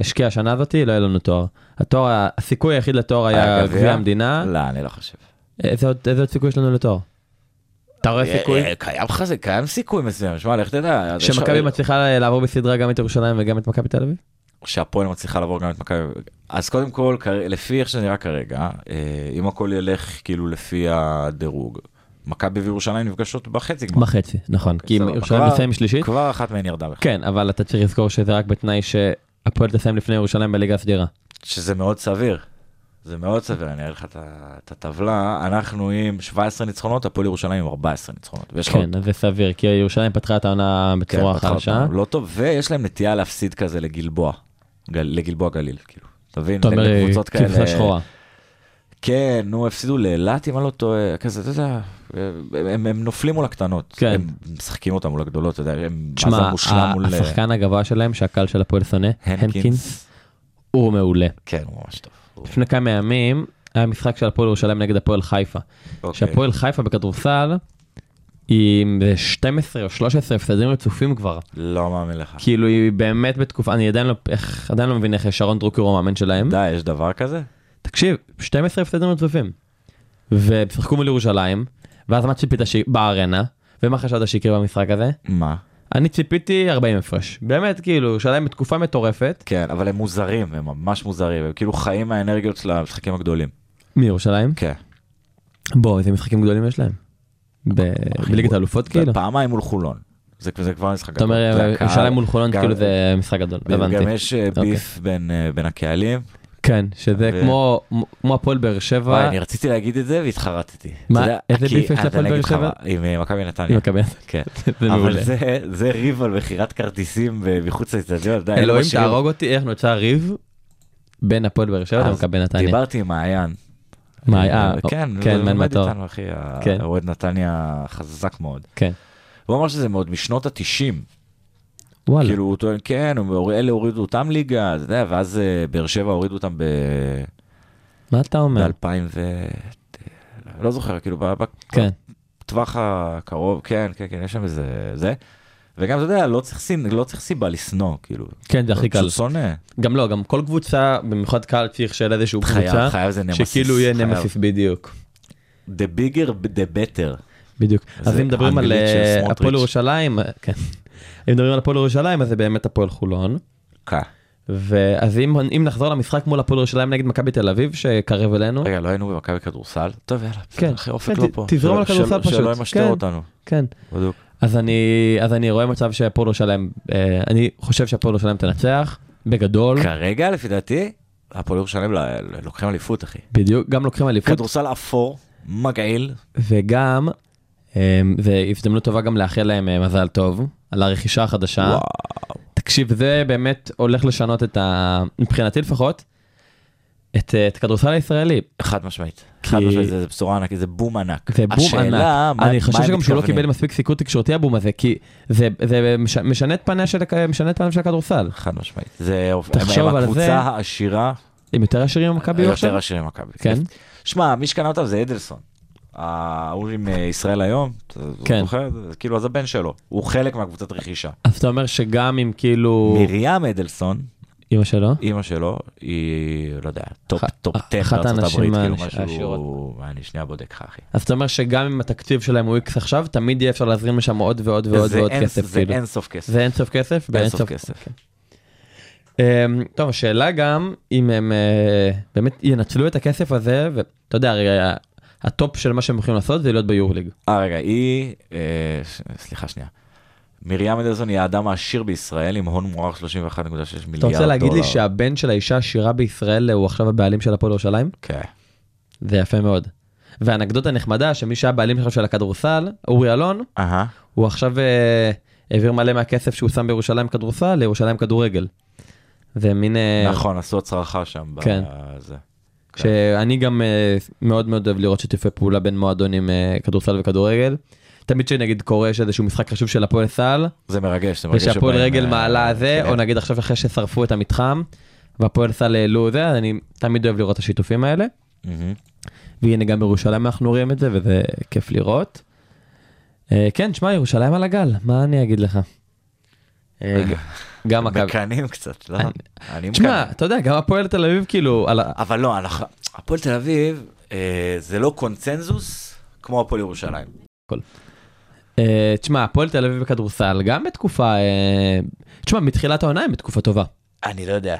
S5: השקיע השנה הזאתי, לא יהיה לנו תואר. התואר, הסיכוי היחיד לתואר היה גביע המדינה.
S4: לא, אני לא חושב.
S5: איזה עוד איזה עוד סיכוי יש לנו לתואר? אתה רואה סיכוי?
S4: אה, אה, קיים חזה, קיים סיכוי מסוים, שמע, לך תדע. יש-
S5: שמכבי מצליחה לעבור בסדרה גם את ירושלים וגם את מכבי תל אביב?
S4: שהפועל מצליחה לעבור גם את מכבי. אז קודם כל, כר- לפי איך שזה נראה כרגע, אה, אם הכל ילך כאילו לפי הדירוג, מכבי וירושלים נפגשות בחצי גמר.
S5: בחצי, נכון, כי אם
S4: סבבה.
S5: ירושלים
S4: כבר-
S5: תסיים שלישית,
S4: כבר אחת מהן ירדה בכלל.
S5: כן, אבל אתה צריך לזכור שזה רק בתנאי שהפועל תסיים לפני ירושלים בליגה הסדירה.
S4: שזה מאוד סביר. זה מאוד סביר, אני אראה לך את ה- את הטבלה. אנחנו עם 17 ניצחונות, הפועל ירושלים עם 14 ניצחונות. ויש לך עוד-
S5: כן, אז זה סביר, כי ירושלים פתחה את העונה
S4: כן,
S5: בצורה
S4: פתחה
S5: חלשה.
S4: אותנו. לא טוב, ויש להם נטייה להפסיד כזה לגלבוע. גל- לגלבוע גליל, כאילו. אתה מבין?
S5: אתה אומר, כאילו,
S4: לקבוצות כאלה.
S5: כבשה שחורה.
S4: כן, נו, הפסידו לאילת, אם אני לא טועה, כזה, אתה יודע, הם, הם נופלים מול הקטנות.
S5: כן.
S4: הם משחקים אותם מול הגדולות, אתה יודע, הם
S5: תשמע,
S4: מאזן מושלם
S5: ה-
S4: מול אה,
S5: השחקן הגבוה שלהם, שהקהל של הפועל שונא, הנקינס, הוא מעולה.
S4: כן, הוא ממש טוב. הוא-
S5: לפני כמה ימים היה משחק של הפועל ירושלים נגד הפועל חיפה.
S4: אוקיי.
S5: שהפועל חיפה בכדורסל, היא עם 12 או 13 הפסדים רצופים כבר.
S4: לא מאמין לך.
S5: כאילו היא באמת בתקופה, אני עדיין לא, איך, עדיין לא מבין איך שרון דרוקר הוא המאמן שלהם.
S4: די, יש דבר כזה?
S5: תקשיב, 12 הפסדים רצופים. והם שיחקו מול ירושלים, ואז מה ציפית ש... בארנה, ומה חשבת שיקרה במשחק הזה?
S4: מה?
S5: אני ציפיתי 40 הפרש. באמת, כאילו, ירושלים בתקופה מטורפת.
S4: כן, אבל הם מוזרים, הם ממש מוזרים, הם כאילו חיים מהאנרגיות של המשחקים הגדולים.
S5: מירושלים?
S4: כן.
S5: בוא, איזה משחקים גדולים יש להם. ב- בליגת האלופות כאילו?
S4: פעמיים מול חולון. זה, זה כבר משחק
S5: אתה אומר, אה,
S4: זה הקהל,
S5: ירושלים מול חולון
S4: גם-
S5: כאילו זה משחק גדול, הבנתי. אוקיי.
S4: גם יש אה, ביף בין, אה, בין הקהלים.
S5: כן, שזה
S4: ו-
S5: כמו כמו הפועל באר שבע.
S4: וואי, אני רציתי להגיד את זה והתחרטתי.
S5: מה,
S4: אתה יודע,
S5: איזה
S4: כי-
S5: ביף יש
S4: אז
S5: לפועל
S4: אני אגיד
S5: באר
S4: לך
S5: שבע?
S4: מה, עם אה, מכבי נתניה.
S5: עם הקבינט.
S4: כן.
S5: אוקיי. זה מעולה.
S4: אבל זה- זה ריב על מכירת כרטיסים ב- מחוץ לאצטדיון. די,
S5: אלוהים
S4: משאירים-
S5: תהרוג אותי איך נוצר ריב בין הפועל באר שבע
S4: אז
S5: למכבי נתניה.
S4: דיברתי עם מעיין.
S5: מה,
S4: אה,
S5: אה,
S4: כן,
S5: כן,
S4: הוא
S5: מן
S4: עומד
S5: מטור.
S4: איתנו, אחי, ה-
S5: כן.
S4: אוהד נתניה חזק מאוד.
S5: כן.
S4: הוא אמר שזה מאוד משנות התשעים.
S5: וואלה.
S4: כאילו הוא טוען כן הוא אומר, אלה הורידו אותם ליגה אתה יודע, ואז אה, באר שבע הורידו אותם
S5: מה אתה אומר?
S4: ב-2000 ו... לא זוכר כאילו ב-
S5: כן.
S4: בטווח הקרוב כן כן כן יש שם איזה זה. וגם אתה יודע לא צריך סין- לא צריך סיבה לשנוא כאילו.
S5: כן, זה הכי
S4: פשוט
S5: קל.
S4: שונא.
S5: גם לא, גם כל קבוצה, במיוחד קהל צריך של איזשהו
S4: חייב,
S5: קבוצה,
S4: חייב זה נמסיס,
S5: שכאילו יהיה
S4: חייב.
S5: נמסיס בדיוק.
S4: The bigger the better.
S5: בדיוק. אז
S4: זה
S5: אם מדברים על
S4: אנגלית של
S5: אה,
S4: סמוטריץ'.
S5: הפועל ירושלים, אה, כן. אם מדברים על הפועל ירושלים אז זה באמת הפועל חולון.
S4: כן.
S5: ואז אם אם נחזור למשחק מול הפועל ירושלים נגד מכבי תל אביב שקרב אלינו,
S4: רגע לא היינו במכבי כדורסל? טוב יאללה.
S5: כן.
S4: בסדר, אחי אופק
S5: כן,
S4: לא
S5: ת-
S4: פה.
S5: תזרום על
S4: שלא-
S5: כדורסל
S4: שלא
S5: פשוט.
S4: ימשטר
S5: כן.
S4: אותנו.
S5: כן.
S4: בדיוק.
S5: אז אני אז אני רואה מצב שהפועל ירושלים, אה, אני חושב שהפועל ירושלים תנצח בגדול,
S4: כרגע לפי דעתי הפועל ירושלים ל- ל- לוקחים אליפות אחי.
S5: בדיוק גם לוקחים אליפות
S4: כדורסל אפור מגעיל.
S5: וגם אה, זה הזדמנות טובה גם לאחל להם אה, מזל טוב על הרכישה החדשה.
S4: וואו.
S5: תקשיב זה באמת הולך לשנות את ה... מבחינתי לפחות. את, אה, את הכדורסל הישראלי
S4: חד משמעית.
S5: כי-
S4: חד משמעית זה זה בשורה ענקית זה בום ענק.
S5: זה בום
S4: השאלה
S5: ענק.
S4: מה-
S5: אני חושב
S4: מה הם
S5: שגם שהוא לא
S4: מתכוונים.
S5: קיבל מספיק סיקור תקשורתי הבום הזה כי זה, זה מש, משנה את פניה של, הכ- משנה את פניו של הכדורסל.
S4: חד משמעית. זה הם-
S5: תחשוב
S4: הם
S5: על זה.
S4: הקבוצה העשירה
S5: הם יותר עשירים ממכבי
S4: אה, יותר
S5: עכשיו?
S4: עשירים ממכבי.
S5: כן.
S4: שמע מי שקנה אותם זה אדלסון. ההוא עם אה, ישראל היום, אתה
S5: כן.
S4: זוכר? זה כאילו אז הבן שלו, הוא חלק מהקבוצת רכישה.
S5: אז אתה אומר שגם אם כאילו...
S4: מרים אדלסון,
S5: אמא שלו?
S4: אימא שלו היא, לא יודע, טופ,
S5: אחת-
S4: טופ 10
S5: אחת
S4: בארצות
S5: האנשים
S4: הברית, כאילו
S5: העש- העשירות.
S4: משהו, אני שנייה בודק לך אחי.
S5: אז אתה אומר שגם אם התקציב שלהם הוא איקס עכשיו, תמיד יהיה אפשר להזרים לשם עוד ועוד ועוד
S4: זה
S5: ועוד
S4: אין-
S5: כסף,
S4: זה
S5: כאילו.
S4: אין סוף כסף.
S5: זה אין סוף כסף?
S4: אין
S5: באין
S4: סוף כסף.
S5: אוקיי. אמ, טוב, השאלה גם אם הם אה, באמת ינצלו את הכסף הזה, ואתה יודע, הרי ה- הטופ של מה שהם יכולים לעשות זה להיות ביורליג.
S4: אה רגע, היא, אה, ש- סליחה שנייה. מרים אדלסון היא האדם העשיר בישראל עם הון מוערך 31.6 מיליארד דולר.
S5: אתה רוצה להגיד לי שהבן של האישה העשירה בישראל הוא עכשיו הבעלים של הפועל ירושלים?
S4: כן.
S5: זה יפה מאוד. ואנקדוטה נחמדה, שמי שהיה בעלים עכשיו של הכדורסל, אורי אלון,
S4: אהה.
S5: הוא עכשיו אה, העביר מלא מהכסף שהוא שם בירושלים כדורסל לירושלים כדורגל. זה מין... אה,
S4: נכון, עשו הצרחה שם. ב-
S5: כן.
S4: זה.
S5: שאני גם אה, מאוד מאוד אוהב לראות שיתופי פעולה בין מועדונים אה, כדורסל וכדורגל. אתה תמיד שנגיד קורה יש איזשהו משחק חשוב של הפועל סל,
S4: זה מרגש, זה מרגש.
S5: ושהפועל
S4: שבאים,
S5: רגל
S4: אה,
S5: מעלה זה,
S4: כן.
S5: או נגיד עכשיו אחרי ששרפו את המתחם, והפועל סל העלו זה, אז אני תמיד אוהב לראות את השיתופים האלה.
S4: מהמם.
S5: והנה גם בירושלים אנחנו רואים את זה, וזה כיף לראות. אה, כן, שמע, ירושלים על הגל, מה אני אגיד לך? אה, ג- גם מכבי.
S4: מקנאים קצת, לא?
S5: אני-
S4: אני מקנא.
S5: תשמע, אתה יודע, גם הפועל תל אביב, כאילו, על ה-
S4: אבל לא, אנחנו- הפועל תל אביב אה, זה לא קונצנזוס כמו הפועל ירושלים.
S5: אה, תשמע, הפועל תל אביב בכדורסל, גם בתקופה, אה, תשמע, מתחילת העונה הם בתקופה טובה.
S4: אני לא יודע.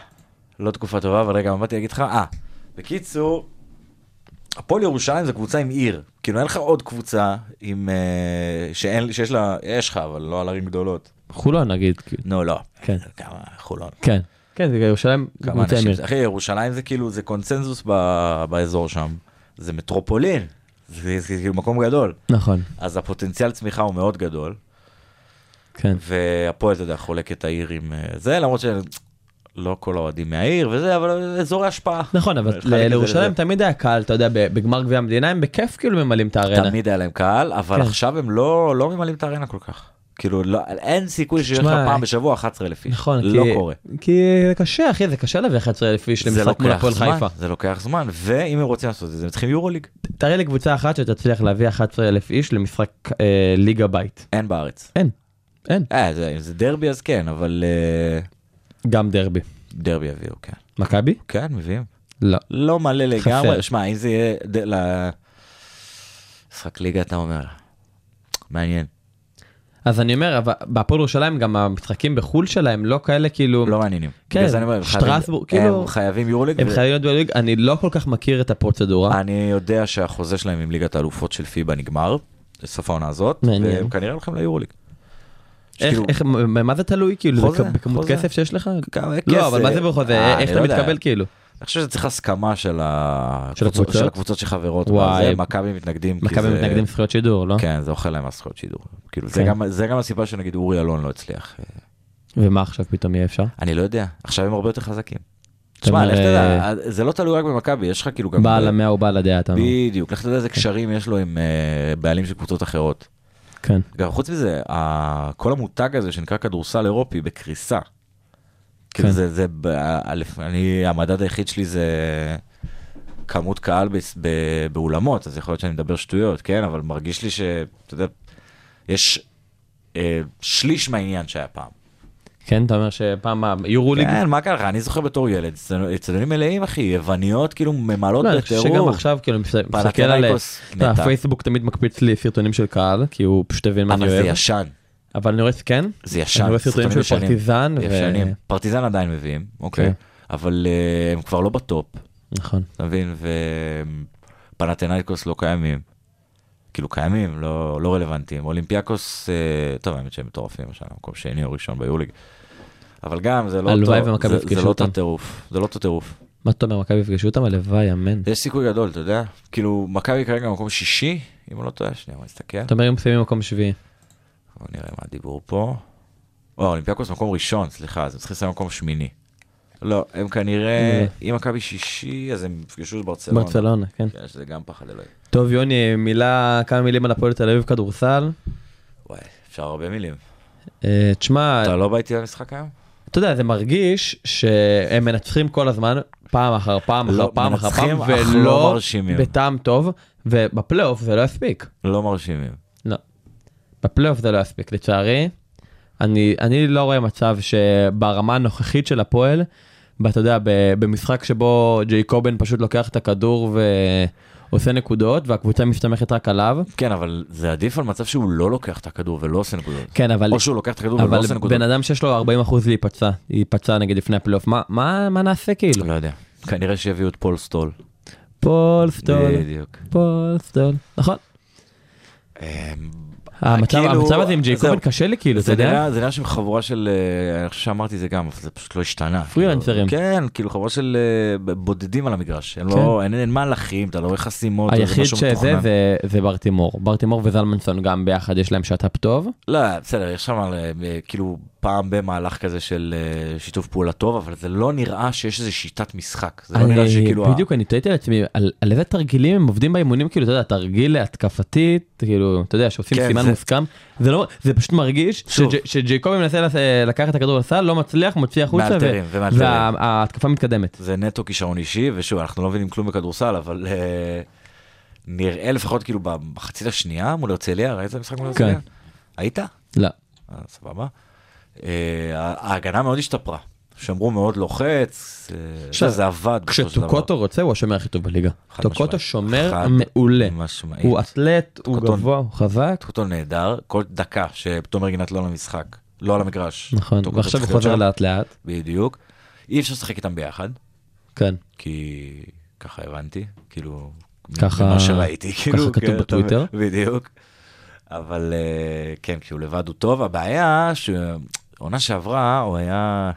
S4: לא תקופה טובה, אבל רגע, מה באתי להגיד לך? אה, בקיצור, הפועל ירושלים זה קבוצה עם עיר. כאילו אין לך עוד קבוצה עם... אה, שאין, שיש לה, יש לך, אבל לא על ערים גדולות.
S5: חולון נגיד, כאילו.
S4: נו, לא.
S5: כן.
S4: כמה, חולון.
S5: כן. כן, זה ירושלים,
S4: כמה
S5: קבוצה
S4: אנשים,
S5: ימיר.
S4: זה- אחי, ירושלים זה כאילו, זה קונצנזוס ב, באזור שם. זה מטרופולין. זה, זה כאילו מקום גדול.
S5: נכון,
S4: אז הפוטנציאל צמיחה הוא מאוד גדול,
S5: כן.
S4: והפועל, אתה יודע, חולק את העיר עם אה, זה, למרות שלא כל האוהדים מהעיר וזה, אבל אזורי השפעה.
S5: נכון, אבל
S4: חלק מזה
S5: ל- לירושלים
S4: לזה.
S5: תמיד היה קהל, אתה יודע, ב- בגמר גביע המדינה הם בכיף כאילו ממלאים את הארנה.
S4: תמיד היה להם קהל, אבל
S5: כן.
S4: עכשיו הם לא לא ממלאים את הארנה כל כך. כאילו, לא- אין סיכוי שיש לך
S5: תשמע,
S4: פעם בשבוע 11,000 איש.
S5: נכון,
S4: לא
S5: כי-
S4: קורה.
S5: כי זה קשה, אחי, זה קשה להביא 11,000 איש
S4: זה
S5: למשחק מול
S4: לוקח
S5: הפועל
S4: זמן,
S5: חיפה.
S4: זה לוקח זמן, ואם הם רוצים לעשות את זה, הם צריכים יורוליג.
S5: תראה לי קבוצה אחת שתצליח להביא 11,000 איש למשחק אה, ליגה בית.
S4: אין בארץ.
S5: אין, אין.
S4: אה, זה- אם זה דרבי אז כן, אבל אה,
S5: גם דרבי.
S4: דרבי יביאו, כן.
S5: מכבי?
S4: כן, מביאים.
S5: לא.
S4: לא מלא
S5: חסר.
S4: לגמרי, שמע, אם זה יהיה... ד- ל- משחק ליגה, אתה אומר. מעניין.
S5: אז אני אומר, אבל בהפועל ירושלים גם המשחקים בחו"ל שלהם לא כאלה כאילו...
S4: לא מעניינים.
S5: כן,
S4: בגלל זה אני אומר, הם חייבים-
S5: שטרסבורג, כאילו-
S4: הם חייבים יורוליג.
S5: הם
S4: ו- אה,
S5: חייבים להיות בליגה, אני לא כל כך מכיר את הפרוצדורה.
S4: אני יודע שהחוזה שלהם עם ליגת האלופות של פיבה נגמר, לסוף העונה הזאת,
S5: מעניין.
S4: והם כנראה הולכים ליורוליג.
S5: איך,
S4: שכאילו,
S5: איך, מה זה תלוי כאילו?
S4: כאילו- חוזה,
S5: זה בכמות
S4: חוזה.
S5: כסף שיש לך?
S4: כמה כסף.
S5: לא, אבל מה זה בחוזה?
S4: אה,
S5: איך
S4: אני
S5: אתה
S4: לא יודע.
S5: מתקבל כאילו?
S4: אני חושב שצריך הסכמה של
S5: של
S4: הקבוצות
S5: הקבוצות?
S4: של הקבוצות שחברות.
S5: וואי.
S4: וואי. מכבי מתנגדים. כי
S5: מכבי
S4: זה-
S5: מתנגדים זכויות שידור, לא?
S4: כן, זה אוכל להם הזכויות שידור. כאילו, זה
S5: כן.
S4: גם- זה גם הסיבה שנגיד אורי אלון לא הצליח. אה,
S5: ומה עכשיו פתאום יהיה אפשר?
S4: אני לא יודע, עכשיו הם הרבה יותר חזקים.
S5: אתה אומר,
S4: תשמע, לך
S5: אה,
S4: תדע, זה לא תלוי רק במכבי, יש לך כאילו גם...
S5: בעל המאה הוא בעל הדעה, אתה אומר.
S4: בדיוק, לך תדע איזה קשרים יש לו עם אה, בעלים של קבוצות אחרות.
S5: כן.
S4: גם חוץ מזה, ה- כל המותג הזה שנקרא כדורסל אירופי בקריסה.
S5: כן.
S4: כן. זה, זה, ב- א', אני, המדד היחיד שלי זה כמות קהל ב, ב, באולמות, אז יכול להיות שאני מדבר שטויות, כן? אבל מרגיש לי ש... אתה יודע, יש אה, שליש מהעניין שהיה פעם.
S5: כן, אתה אומר שפעם יורו ליג?
S4: כן, מה קרה לך? אני זוכר בתור ילד, אצטדיונים מלאים, אחי, יווניות כאילו ממלאות
S5: לא, אני חושב
S4: בטירוף.
S5: שגם עכשיו, כאילו, אני מסת- מסתכל על...
S4: פנתיאייקוס
S5: אתה יודע,
S4: מתה.
S5: הפייסבוק תמיד מקפיץ לי סרטונים של קהל, כי הוא פשוט הבין מה אני
S4: אבל זה
S5: אוהב.
S4: ישן,
S5: אבל אני רואה, כן?
S4: זה ישן.
S5: אני רואה סרטונים של
S4: ישנים.
S5: פרטיזן. ו-
S4: ישנים. פרטיזן עדיין מביאים,
S5: כן.
S4: אוקיי. אבל אה, הם כבר לא בטופ,
S5: נכון.
S4: אתה מבין? ופנתנאיקוס לא קיימים. כאילו קיימים, לא, לא רלוונטיים. אולימפיאקוס, אה, טוב, האמת שהם מטורפים עכשיו, מקום שני או ראשון ביוליג. אבל גם זה לא
S5: הלוואי
S4: אותו-
S5: ומכבי
S4: זה-
S5: יפגשו
S4: זה לא אותו
S5: אותם.
S4: טירוף, זה לא אותו טירוף.
S5: מה אתה אומר, מכבי יפגשו אותם? הלוואי, אמן.
S4: יש סיכוי גדול, אתה יודע? כאילו, מכבי כרגע במקום שישי, אם אני לא טועה, שנייה, בוא נסתכל.
S5: אתה אומר, הם מסיימים במקום שביעי.
S4: בוא נראה מה הדיבור פה. או, אולימפיאקוס מקום ראשון, סליחה, אז הם צריכים לסיים מקום שמיני. לא, הם כנראה, אם מכבי שישי, אז הם יפגשו את ברצלונה.
S5: ברצלונה, כן.
S4: כן, שזה גם פחד אלוהים.
S5: טוב, יוני, מילה, כמה מילים על הפועל תל אביב כדורסל.
S4: וואי, אפשר הרבה מילים.
S5: אה, תשמע,
S4: אתה לא בא איתי למשחק היום?
S5: אתה יודע, זה מרגיש שהם מנצחים כל הזמן, פעם אחר פעם אחר
S4: לא,
S5: פעם אחר פעם,
S4: מנצחים, אך לא
S5: ולא
S4: מרשימים.
S5: בטעם טוב, ובפלייאוף זה לא יספיק.
S4: לא מרשימים.
S5: לא. בפלייאוף זה לא יספיק, לצערי. אני, אני לא רואה מצב שברמה הנוכחית של הפועל, ואתה יודע, ב- במשחק שבו ג'ייקובן פשוט לוקח את הכדור ועושה נקודות, והקבוצה מסתמכת רק עליו.
S4: כן, אבל זה עדיף על מצב שהוא לא לוקח את הכדור ולא עושה נקודות.
S5: כן, אבל...
S4: או שהוא לוקח את הכדור ולא
S5: אבל
S4: עושה נקודות.
S5: בן אדם שיש לו 40% להיפצע, להיפצע נגיד לפני הפלייאוף, מה, מה, מה נעשה כאילו?
S4: לא יודע. כנראה שיביאו את פול סטול.
S5: פולסטול,
S4: בדיוק.
S5: פולסטול, נכון.
S4: אמ,
S5: המצב
S4: כאילו,
S5: המצב הזה עם ג'ייקובן
S4: זהו.
S5: קשה לי כאילו, אתה
S4: זה
S5: יודע?
S4: נראה, לא זה נראה שהם חבורה של, אה, אני חושב שאמרתי זה גם, אבל זה פשוט לא השתנה.
S5: פרילנסרים.
S4: כאילו, כן, כאילו חבורה של אה, ב- בודדים על המגרש. הם
S5: כן.
S4: לא, אין- אין מהלכים, אתה לא רואה חסימות, זה
S5: היחיד
S4: משהו
S5: שזה
S4: מתוכנן.
S5: זה- זה ברטימור, ברטימור וזלמנסון גם ביחד יש להם שת"פ טוב,
S4: לא, בסדר, יש שם אה, אה, כאילו פעם במהלך כזה של אה, שיתוף פעולה טוב, אבל זה לא נראה שיש איזה שיטת משחק. זה לא נראה
S5: אני,
S4: שכאילו... ה-
S5: בדיוק אני תהיתי על עצמי על, על איזה תרגילים הם עובדים באימונים כאילו אתה יודע תרגיל להתקפתית כאילו אתה יודע שעושים
S4: כן,
S5: סימן
S4: זה-
S5: מוסכם זה לא זה פשוט מרגיש
S4: שוב.
S5: שג'- שג'ייקובי מנסה לס- לקחת את הכדור לסל לא מצליח מוציא החוצה
S4: מאלתרים, ומאלתרים.
S5: וההתקפה מתקדמת.
S4: זה נטו כישרון אישי, ושוב, אנחנו לא מבינים כלום בכדורסל, אבל אה, נראה לפחות כאילו במחצית השנייה מול הרצליה, ראית את המשחק מול הרצליה?
S5: כן.
S4: היית?
S5: לא.
S4: אה, סבבה. אה, ההגנה מאוד השתפרה. שמרו מאוד לוחץ, אה,
S5: עכשיו,
S4: זה עבד בסופו של דבר.
S5: כשטוקוטו רוצה הוא השומר הכי טוב בליגה.
S4: חד
S5: טוקוטו
S4: משמעית.
S5: שומר
S4: חד
S5: מעולה.
S4: משמעית.
S5: הוא אתלט, הוא
S4: טוקוטו-
S5: גבוה, הוא חזק.
S4: טוקוטו נהדר, כל דקה שתומר גינת לא על המשחק, לא על המגרש.
S5: נכון.
S4: טוקוטו
S5: ועכשיו
S4: צריך
S5: הוא
S4: להיות
S5: חוזר
S4: שם.
S5: לאט לאט.
S4: בדיוק. אי אפשר לשחק איתם ביחד,
S5: כן.
S4: כי ככה הבנתי, כאילו,
S5: ככה-
S4: ממה שראיתי, כאילו,
S5: כתוב
S4: כן, אתה-
S5: בטוויטר.
S4: בדיוק. אבל אה, כן, כי הוא לבד הוא טוב, הבעיה שעונה שעברה הוא היה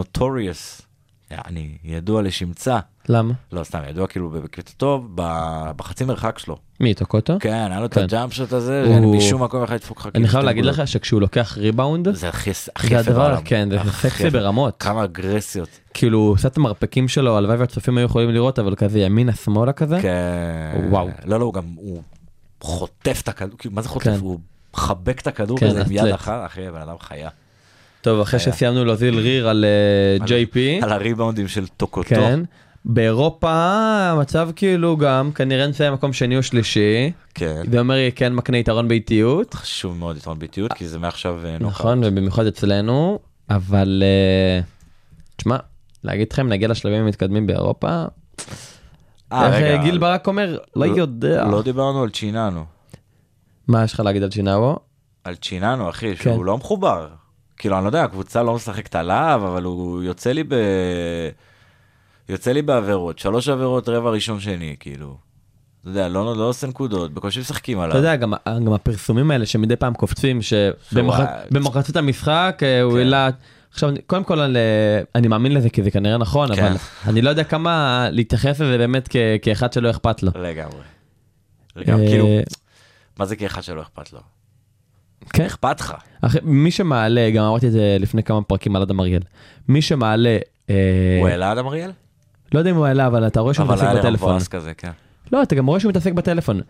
S4: נוטוריוס, אני ידוע לשמצה,
S5: למה? לא.
S4: לא סתם ידוע כאילו בקטע טוב, ב- בחצי מרחק שלו.
S5: מי טוקוטו?
S4: כן, היה לו את
S5: כן.
S4: הג'אמפ שוט הזה,
S5: הוא-
S4: משום מקום אחד ידפוק לך.
S5: אני
S4: כאילו
S5: חייב
S4: שתי
S5: להגיד
S4: נקודות.
S5: לך שכשהוא לוקח ריבאונד.
S4: זה הכי הכי
S5: זה
S4: יפה
S5: הדבר,
S4: בעולם.
S5: כן, זה
S4: הכי
S5: סקסי
S4: יפה.
S5: ברמות.
S4: כמה אגרסיות.
S5: כאילו הוא עושה את המרפקים שלו הלוואי והצופים היו יכולים לראות אבל כזה ימינה שמאלה כזה
S4: כן.
S5: וואו.
S4: לא, לא, הוא גם, הוא חוטף את הכדור, כאילו, מה זה חוטף?
S5: כן.
S4: הוא מחבק את הכדור
S5: כן,
S4: כזה עם יד
S5: אתלט.
S4: אחת, אחי, בן אדם חיה.
S5: טוב אחרי
S4: היה.
S5: שסיימנו להוזיל ריר על אה,
S4: על-
S5: ג'יי פי
S4: על הריבאונדים של טוקוטו.
S5: כן באירופה המצב כאילו גם כנראה נסיים מקום שני או שלישי
S4: כן.
S5: זה אומר כן מקנה יתרון באיטיות
S4: חשוב מאוד יתרון ביטיות, כי זה מעכשיו אה, נוחה.
S5: נכון ובמיוחד אצלנו אבל אה, תשמע להגיד לכם נגיע לשלבים המתקדמים באירופה
S4: אה,
S5: איך
S4: רגע,
S5: אה, גיל ברק אומר לא יודע
S4: לא דיברנו על צ'יננו.
S5: מה יש לך להגיד על שינאוו
S4: על צ'יננו, אחי,
S5: כן.
S4: שהוא לא מחובר. כאילו, אני לא יודע, הקבוצה לא משחקת עליו, אבל הוא יוצא לי ב... יוצא לי בעבירות, שלוש עבירות, רבע ראשון שני, כאילו. אתה יודע, לא, לא עושה נקודות, בקושי משחקים עליו.
S5: אתה יודע, גם, גם הפרסומים האלה שמדי פעם קופצים,
S4: שוואי.
S5: שבמחצית המשחק אה, הוא
S4: כן.
S5: העלה... עכשיו, קודם כל, על, אה, אני מאמין לזה כי זה כנראה נכון,
S4: כן.
S5: אבל אני לא יודע כמה להתייחס לזה באמת כ- כאחד שלא אכפת לו.
S4: לגמרי. לגמרי,
S5: אה,
S4: כאילו, מה זה כאחד שלא אכפת לו?
S5: כן,
S4: אכפת לך.
S5: אחרי- מי שמעלה, גם אמרתי את זה לפני כמה פרקים על אדם אריאל, מי שמעלה, אה,
S4: הוא העלה אדם אריאל?
S5: לא יודע אם הוא העלה, אבל אתה רואה שהוא
S4: אבל
S5: מתעסק
S4: היה להם
S5: בטלפון.
S4: מבואס כזה, כן.
S5: לא, אתה גם רואה שהוא מתעסק בטלפון.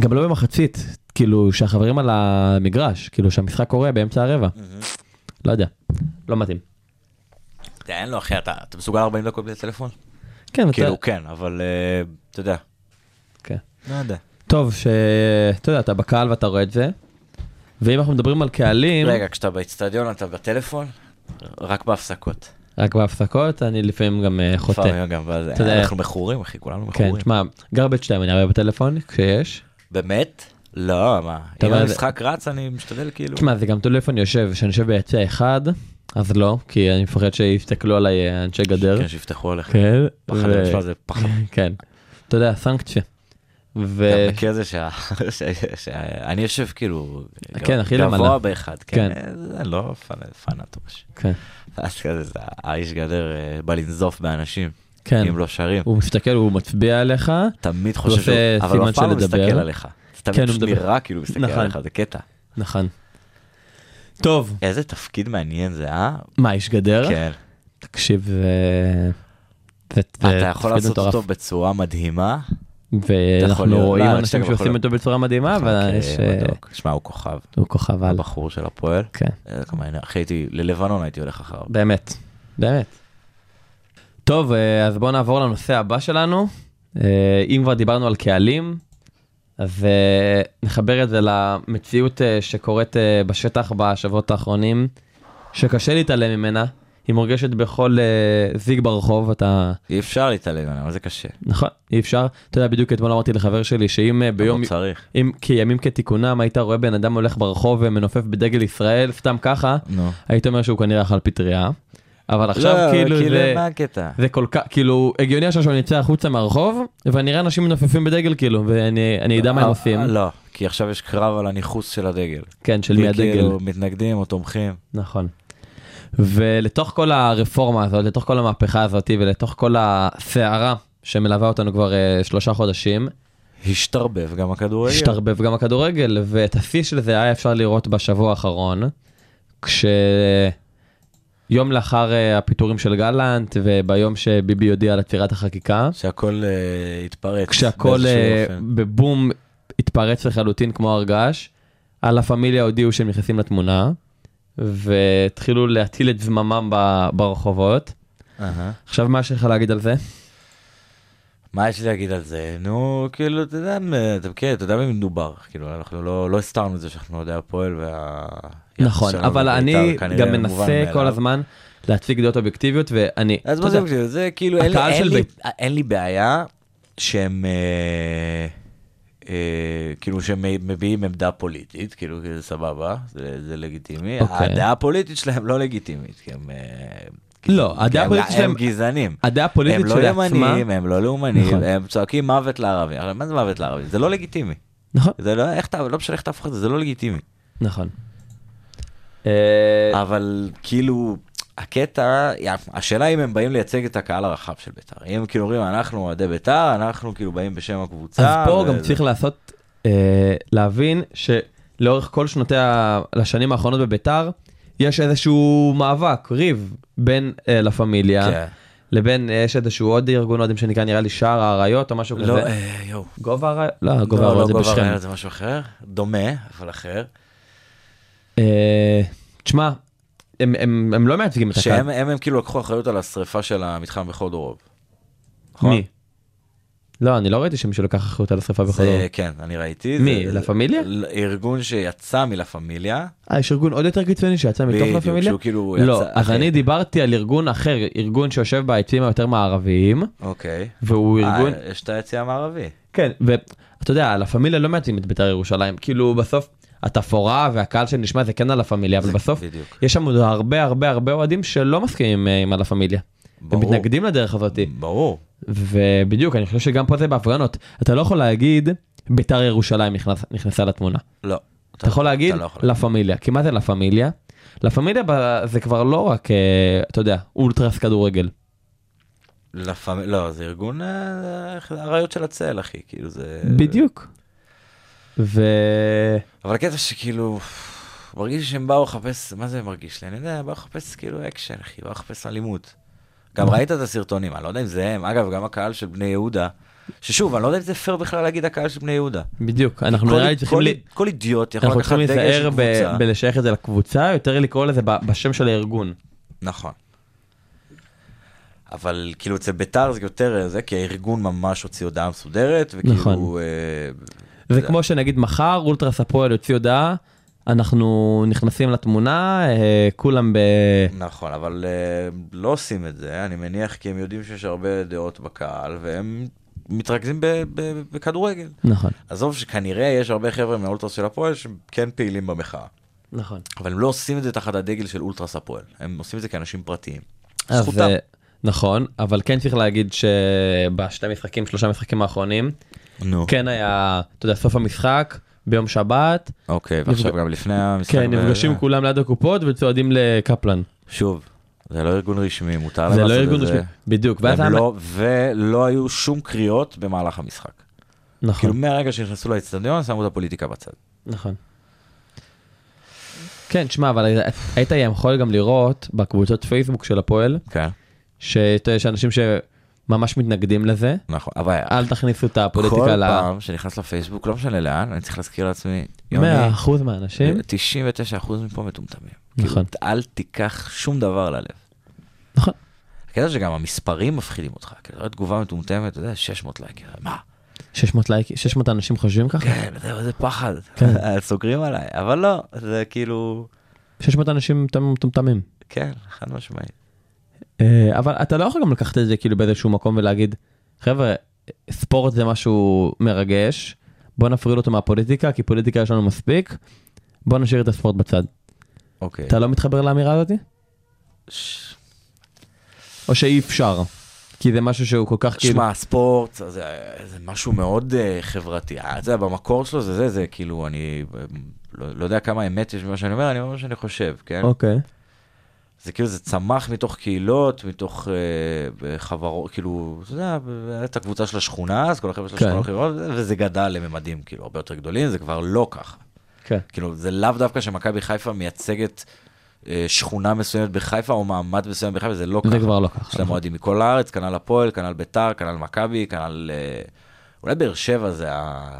S5: גם לא במחצית, כאילו שהחברים על המגרש, כאילו שהמשחק קורה באמצע הרבע. לא יודע, לא מתאים.
S4: אתה, אין לו, אחי, אתה אתה מסוגל 40 דקות בלי טלפון?
S5: כן, אתה-
S4: כאילו, כן, אבל אה, אתה יודע.
S5: כן.
S4: לא יודע.
S5: טוב, שאתה יודע, אתה בקהל ואתה רואה את זה. ואם אנחנו מדברים על קהלים,
S4: רגע, כשאתה באצטדיון אתה בטלפון? רק בהפסקות.
S5: רק בהפסקות, אני לפעמים גם אה, חוטא.
S4: לפעמים גם, ואז
S5: אתה יודע-
S4: אנחנו מכורים, אחי, כולנו
S5: כן,
S4: מכורים.
S5: תשמע, גרבג' טיים אני הרבה בטלפון, כשיש.
S4: באמת? לא, מה?
S5: אתה
S4: אם
S5: אומר-
S4: המשחק רץ, אני משתדל כאילו...
S5: תשמע, זה גם תלוי איפה אני יושב, כשאני יושב ביציע אחד, אז לא, כי אני מפחד שיסתכלו עליי אה, אנשי גדר.
S4: כן, שיפתחו עליך.
S5: כן.
S4: בחדר
S5: ו-
S4: שלך זה פחד.
S5: כן. אתה יודע, סנקציה. ו...
S4: אתה מכיר את זה שה- שה- שה- אני יושב כאילו
S5: כן, הכי למעלה.
S4: גבוה באחד, כן, זה לא פאנ- פאנטוש.
S5: כן.
S4: אז כזה, זה- האיש גדר אה, בא לנזוף באנשים,
S5: כן.
S4: אם לא שרים.
S5: הוא מסתכל, הוא מצביע עליך.
S4: תמיד
S5: הוא
S4: חושב שהוא,
S5: עושה
S4: אבל הוא
S5: סימן
S4: אף פעם
S5: של
S4: לא מסתכל
S5: לדבר. כן,
S4: עליך. זה תמיד
S5: הוא
S4: פשוט
S5: מדבר.
S4: נראה כאילו הוא מסתכל
S5: נכון.
S4: עליך, זה קטע.
S5: נכון. טוב.
S4: איזה תפקיד מעניין זה, אה?
S5: מה, איש גדר?
S4: כן.
S5: תקשיב, זה... זה- זה
S4: אתה יכול
S5: תפקיד
S4: לעשות
S5: מטורף.
S4: אותו בצורה מדהימה. אתה יכול
S5: ואנחנו
S4: להיות-
S5: רואים
S4: לא, אני
S5: אנשים
S4: חושב שאתה
S5: שעושים
S4: יכול-
S5: אותו בצורה מדהימה, אה, אבל
S4: אוקיי,
S5: יש...
S4: מתוק. שמע, הוא כוכב,
S5: הוא כוכב על.
S4: הבחור של הפועל.
S5: כן.
S4: אה, כמה, אני- אחי, הייתי, ללבנון הייתי הולך אחריו.
S5: באמת. באמת. טוב, אה, אז בואו נעבור לנושא הבא שלנו. אה, אם כבר דיברנו על קהלים, אז אה, נחבר את זה למציאות אה, שקורית אה, בשטח בשבועות האחרונים, שקשה להתעלם ממנה. היא מורגשת בכל אה, זיג ברחוב, אתה...
S4: אי אפשר להתעלם ממנו, אבל זה קשה.
S5: נכון, אי אפשר. אתה יודע, בדיוק אתמול אמרתי לחבר שלי שאם אה, ביום,
S4: אבל צריך.
S5: אם כימים כתיקונם היית רואה בן אדם הולך ברחוב ומנופף בדגל ישראל, סתם ככה,
S4: נו.
S5: היית אומר שהוא כנראה אכל פטריה. אבל עכשיו
S4: לא,
S5: כאילו זה...
S4: מה הקטע?
S5: זה כל כך, כאילו, הגיוני עכשיו שאני אצא החוצה מהרחוב, ואני אראה אנשים מנופפים בדגל, כאילו, ואני אני אדע מה הם
S4: אה,
S5: עושים.
S4: אה, לא, כי עכשיו יש קרב על הניכוס של הדגל.
S5: כן, של מי
S4: כי
S5: הדגל.
S4: כאילו מתנגדים או תומכים.
S5: נכון. ולתוך כל הרפורמה הזאת, לתוך כל המהפכה הזאת, ולתוך כל הסערה שמלווה אותנו כבר אה, שלושה חודשים,
S4: השתרבב גם הכדורגל.
S5: השתרבב גם הכדורגל, ואת השיא של זה היה אפשר לראות בשבוע האחרון, כשהיו יום לאחר אה, הפיטורים של גלנט וביום שביבי הודיע על עצירת החקיקה,
S4: שהכל אה, התפרץ.
S5: כשהכל
S4: באיזשהו
S5: אה,
S4: אופן.
S5: בבום התפרץ לחלוטין כמו הר געש, הלה פמיליה הודיעו שהם נכנסים לתמונה, והתחילו להטיל את זממם ב- ברחובות.
S4: אהה.
S5: עכשיו מה יש לך להגיד על זה?
S4: מה יש לי להגיד על זה? נו, כאילו, אתה יודע, אה, אתה כן, אתה יודע במי מדובר. כאילו, אנחנו לא לא הסתרנו את זה שאנחנו אוהדי הפועל וה...
S5: נכון,
S4: שלנו
S5: אבל
S4: בבית"ר
S5: אני
S4: כנראה
S5: גם
S4: מובן
S5: מנסה כל
S4: מאליו.
S5: הזמן להציג דעות אובייקטיביות, ואני,
S4: אז
S5: אתה
S4: מה
S5: יודע,
S4: זה מקשיב? זה כאילו, אין לי-
S5: הקהל
S4: אין
S5: של
S4: לי-
S5: בית-
S4: אין לי בעיה שהם... אה, אה, כאילו שהם מביעים עמדה פוליטית, כאילו זה סבבה, זה, זה לגיטימי.
S5: אוקיי.
S4: הדעה הפוליטית שלהם לא לגיטימית, כי הם... אה,
S5: לא,
S4: כי
S5: הדעה
S4: הם-
S5: הפוליטית שלהם,
S4: הם גזענים.
S5: הדעה הפוליטית
S4: הם לא
S5: שלעצמה,
S4: ימנים, הם לא לאומנים,
S5: נכון.
S4: הם צועקים מוות לערבים. הרי מה זה מוות לערבים? זה לא לגיטימי.
S5: נכון,
S4: זה לא, איך אתה, לא משנה איך תהפוך את זה, זה לא לגיטימי.
S5: נכון. אה,
S4: אבל כאילו, הקטע, השאלה אם הם באים לייצג את הקהל הרחב של ביתר. אם הם כאילו אומרים, אנחנו אוהדי ביתר, אנחנו כאילו באים בשם הקבוצה.
S5: אז פה
S4: וזה-
S5: גם צריך לעשות, אה, להבין שלאורך כל שנותי ה... לשנים האחרונות בביתר, יש איזשהו מאבק, ריב, בין אה, לה פמיליה,
S4: כן.
S5: לבין, אה, יש איזשהו עוד ארגון אוהדים שנקרא נראה לי שער האריות או משהו
S4: לא,
S5: כזה.
S4: אה, יואו.
S5: גובה האריות? לא, גובה
S4: לא,
S5: האריות
S4: לא,
S5: זה
S4: גובה
S5: בשכם.
S4: הרעיון זה משהו אחר, דומה, אבל אחר.
S5: אה, תשמע, הם- הם הם לא מייצגים את הקהל.
S4: שהם הם, הם כאילו לקחו אחריות על השריפה של המתחם בכל דורוב. נכון?
S5: מי? לא, אני לא ראיתי שמישהו לקח אחריות על השרפה בכל
S4: זה,
S5: זאת.
S4: כן, אני ראיתי.
S5: מי,
S4: זה-
S5: לה פמיליה?
S4: ל- ארגון שיצא מלה פמיליה.
S5: אה, יש ארגון עוד יותר קיצוני שיצא מתוך לה
S4: בדיוק,
S5: פמיליה?
S4: שהוא כאילו
S5: לא,
S4: יצא-
S5: אז
S4: אחי.
S5: אני דיברתי על ארגון אחר, ארגון שיושב בעצים היותר מערביים,
S4: אוקיי.
S5: והוא ארגון...
S4: אה, יש את היציא המערבי.
S5: כן, ואתה יודע, לה פמיליה לא מייצגים את בית"ר ירושלים, כאילו בסוף התפאורה והקהל שנשמע זה כן על הפמיליה, אבל
S4: זה-
S5: בסוף
S4: בדיוק.
S5: יש שם עוד הרבה הרבה הרבה אוהדים שלא מסכימים אה, עם הלה פמיליה. הם
S4: ברור.
S5: מתנגדים לדרך הזאת,
S4: ברור.
S5: ובדיוק, אני חושב שגם פה זה בהפגנות. אתה לא יכול להגיד, בית"ר ירושלים נכנס- נכנסה לתמונה.
S4: לא.
S5: אתה יכול להגיד
S4: אתה לא יכול
S5: לה פמיליה, כי מה זה לה פמיליה? לה פמיליה ב- זה כבר לא רק, אה, אתה יודע, אולטרס כדורגל.
S4: לפעמים, לא, זה ארגון אה, האריות של הצל, אחי, כאילו זה...
S5: בדיוק. ו...
S4: אבל הקטע שכאילו, מרגיש לי שהם באו לחפש, מה זה מרגיש לי? אני לא יודע, באו לחפש כאילו אקשן, אחי, באו לחפש אלימות. גם ראית את הסרטונים, אני לא יודע אם זה הם, אגב, גם הקהל של בני יהודה, ששוב, אני לא יודע אם זה פייר בכלל להגיד הקהל של בני יהודה.
S5: בדיוק, אנחנו
S4: כל-
S5: נראה לי צריכים
S4: כל-
S5: ל-
S4: כל אידיוט יכול
S5: אנחנו
S4: לקחת
S5: צריכים
S4: דגל של
S5: להיזהר
S4: קבוצה.
S5: ב- בלשייך את זה לקבוצה, יותר לקרוא לזה ב- בשם של הארגון.
S4: נכון. אבל כאילו אצל ביתר זה יותר אה, זה, כי הארגון ממש הוציא הודעה מסודרת, וכאילו...
S5: נכון.
S4: אה,
S5: זה כמו שנגיד מחר אולטרס הפועל יוציא הודעה, אנחנו נכנסים לתמונה, אה, כולם ב...
S4: נכון, אבל uh, לא עושים את זה, אני מניח כי הם יודעים שיש הרבה דעות בקהל, והם מתרכזים ב- ב- בכדורגל.
S5: נכון,
S4: עזוב שכנראה יש הרבה חבר'ה מהאולטרס של הפועל שכן פעילים במחאה,
S5: נכון.
S4: אבל הם לא עושים את זה תחת הדגל של אולטרס הפועל, הם עושים את זה כאנשים פרטיים.
S5: אז,
S4: זכותם.
S5: אה, נכון, אבל כן צריך להגיד שבשתי משחקים, שלושה משחקים האחרונים,
S4: נו.
S5: כן היה, אתה יודע, סוף המשחק, ביום שבת,
S4: אוקיי, ועכשיו
S5: נפג-
S4: גם לפני המשחק.
S5: כן,
S4: ב-
S5: נפגשים כולם ליד הקופות וצועדים לקפלן.
S4: שוב, זה לא ארגון רשמי, מותר להם
S5: זה
S4: לעשות
S5: לא
S4: את זה.
S5: ארגון רשמי, בדיוק, ואז היה...
S4: והם לא- ולא היו שום קריאות במהלך המשחק.
S5: נכון.
S4: כאילו מהרגע שנכנסו לאצטדיון, שמו את הפוליטיקה בצד.
S5: נכון. כן, שמע, אבל היית יכול גם לראות בקבוצות פייסבוק של הפועל,
S4: כן,
S5: שיש אנשים שממש מתנגדים לזה,
S4: נכון. אבל
S5: אל תכניסו את
S4: כל
S5: אה, הפוליטיקה ל...
S4: פעם שנכנס לפייסבוק, לא משנה לאן, אני צריך להזכיר לעצמי, יוני,
S5: 100% מהאנשים,
S4: 99% מפה מטומטמים.
S5: נכון.
S4: כאילו, אל תיקח שום דבר ללב.
S5: נכון.
S4: הקטע שגם המספרים מפחידים אותך, כאילו, לא תגובה מטומטמת, אתה יודע, 600 לייקים, מה?
S5: 600 לייקים, 600 אנשים חושבים ככה?
S4: כן, אתה יודע, איזה פחד,
S5: כן.
S4: סוגרים עליי, אבל לא, זה כאילו,
S5: 600 אנשים מטומ- מטומטמים.
S4: כן, חד משמעית.
S5: אה, אבל אתה לא יכול גם לקחת את זה כאילו באיזשהו מקום ולהגיד, חבר'ה, ספורט זה משהו מרגש, בוא נפריד אותו מהפוליטיקה, כי פוליטיקה יש לנו מספיק, בוא נשאיר את הספורט בצד.
S4: אוקיי.
S5: אתה לא מתחבר לאמירה הזאתי?
S4: ש-
S5: או שאי אפשר? כי זה משהו שהוא כל כך כאילו...
S4: שמע, ספורט זה, זה משהו מאוד uh, חברתי. אה, אתה יודע, במקור שלו זה זה, זה כאילו, אני אה, לא, לא יודע כמה אמת יש במה שאני אומר, אני אומר מה שאני חושב, כן?
S5: אוקיי.
S4: זה כאילו, זה צמח מתוך קהילות, מתוך uh, חברות, כאילו, אתה יודע, הייתה קבוצה של השכונה, אז כל החבר'ה של
S5: כן.
S4: השכונה הולכים לראות, וזה גדל לממדים, כאילו, הרבה יותר גדולים, זה כבר לא ככה.
S5: כן.
S4: כאילו, זה לאו דווקא שמכבי חיפה מייצגת אה, שכונה מסוימת בחיפה או מעמד מסוים בחיפה, זה לא
S5: זה
S4: ככה.
S5: כבר לא ככה.
S4: יש להם אוהדים מכל הארץ, כנ"ל הפועל, כנ"ל ביתר, כנ"ל מכבי, כנ"ל... אה, אולי באר שבע זה ה...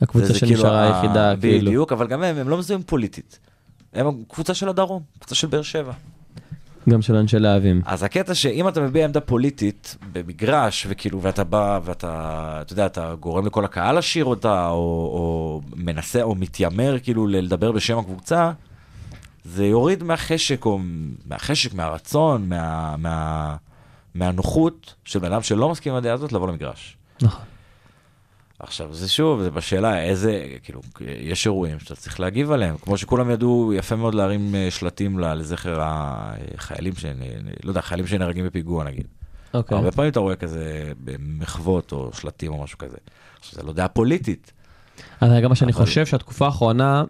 S5: הקבוצה
S4: זה- זה
S5: שנשארה
S4: ה-
S5: היחידה, כאילו.
S4: בדיוק, אבל גם הם, הם לא מזוהים פוליטית. הם קבוצה של הדרום, קבוצה של באר שבע.
S5: גם של אנשי להבים.
S4: אז הקטע שאם אתה מביע עמדה פוליטית במגרש, וכאילו, ואתה בא, ואתה, אתה יודע, אתה גורם לכל הקהל לשיר אותה, או, או מנסה, או מתיימר כאילו ל- לדבר בשם הקבוצה, זה יוריד מהחשק, או מהחשק, מהרצון, מה, מה, מהנוחות של בן אדם שלא מסכים עם הדעה הזאת לבוא למגרש.
S5: נכון.
S4: עכשיו זה שוב, זה בשאלה איזה, כאילו, יש אירועים שאתה צריך להגיב עליהם, כמו שכולם ידעו יפה מאוד להרים אה, שלטים ל- לזכר החיילים, שנ... לא יודע, חיילים שנהרגים בפיגוע נגיד. Okay.
S5: אוקיי.
S4: הרבה פעמים אתה רואה כזה במחוות או שלטים או משהו כזה. עכשיו זה לא דעה פוליטית.
S5: אז גם מה שאני
S4: אבל-
S5: חושב שהתקופה האחרונה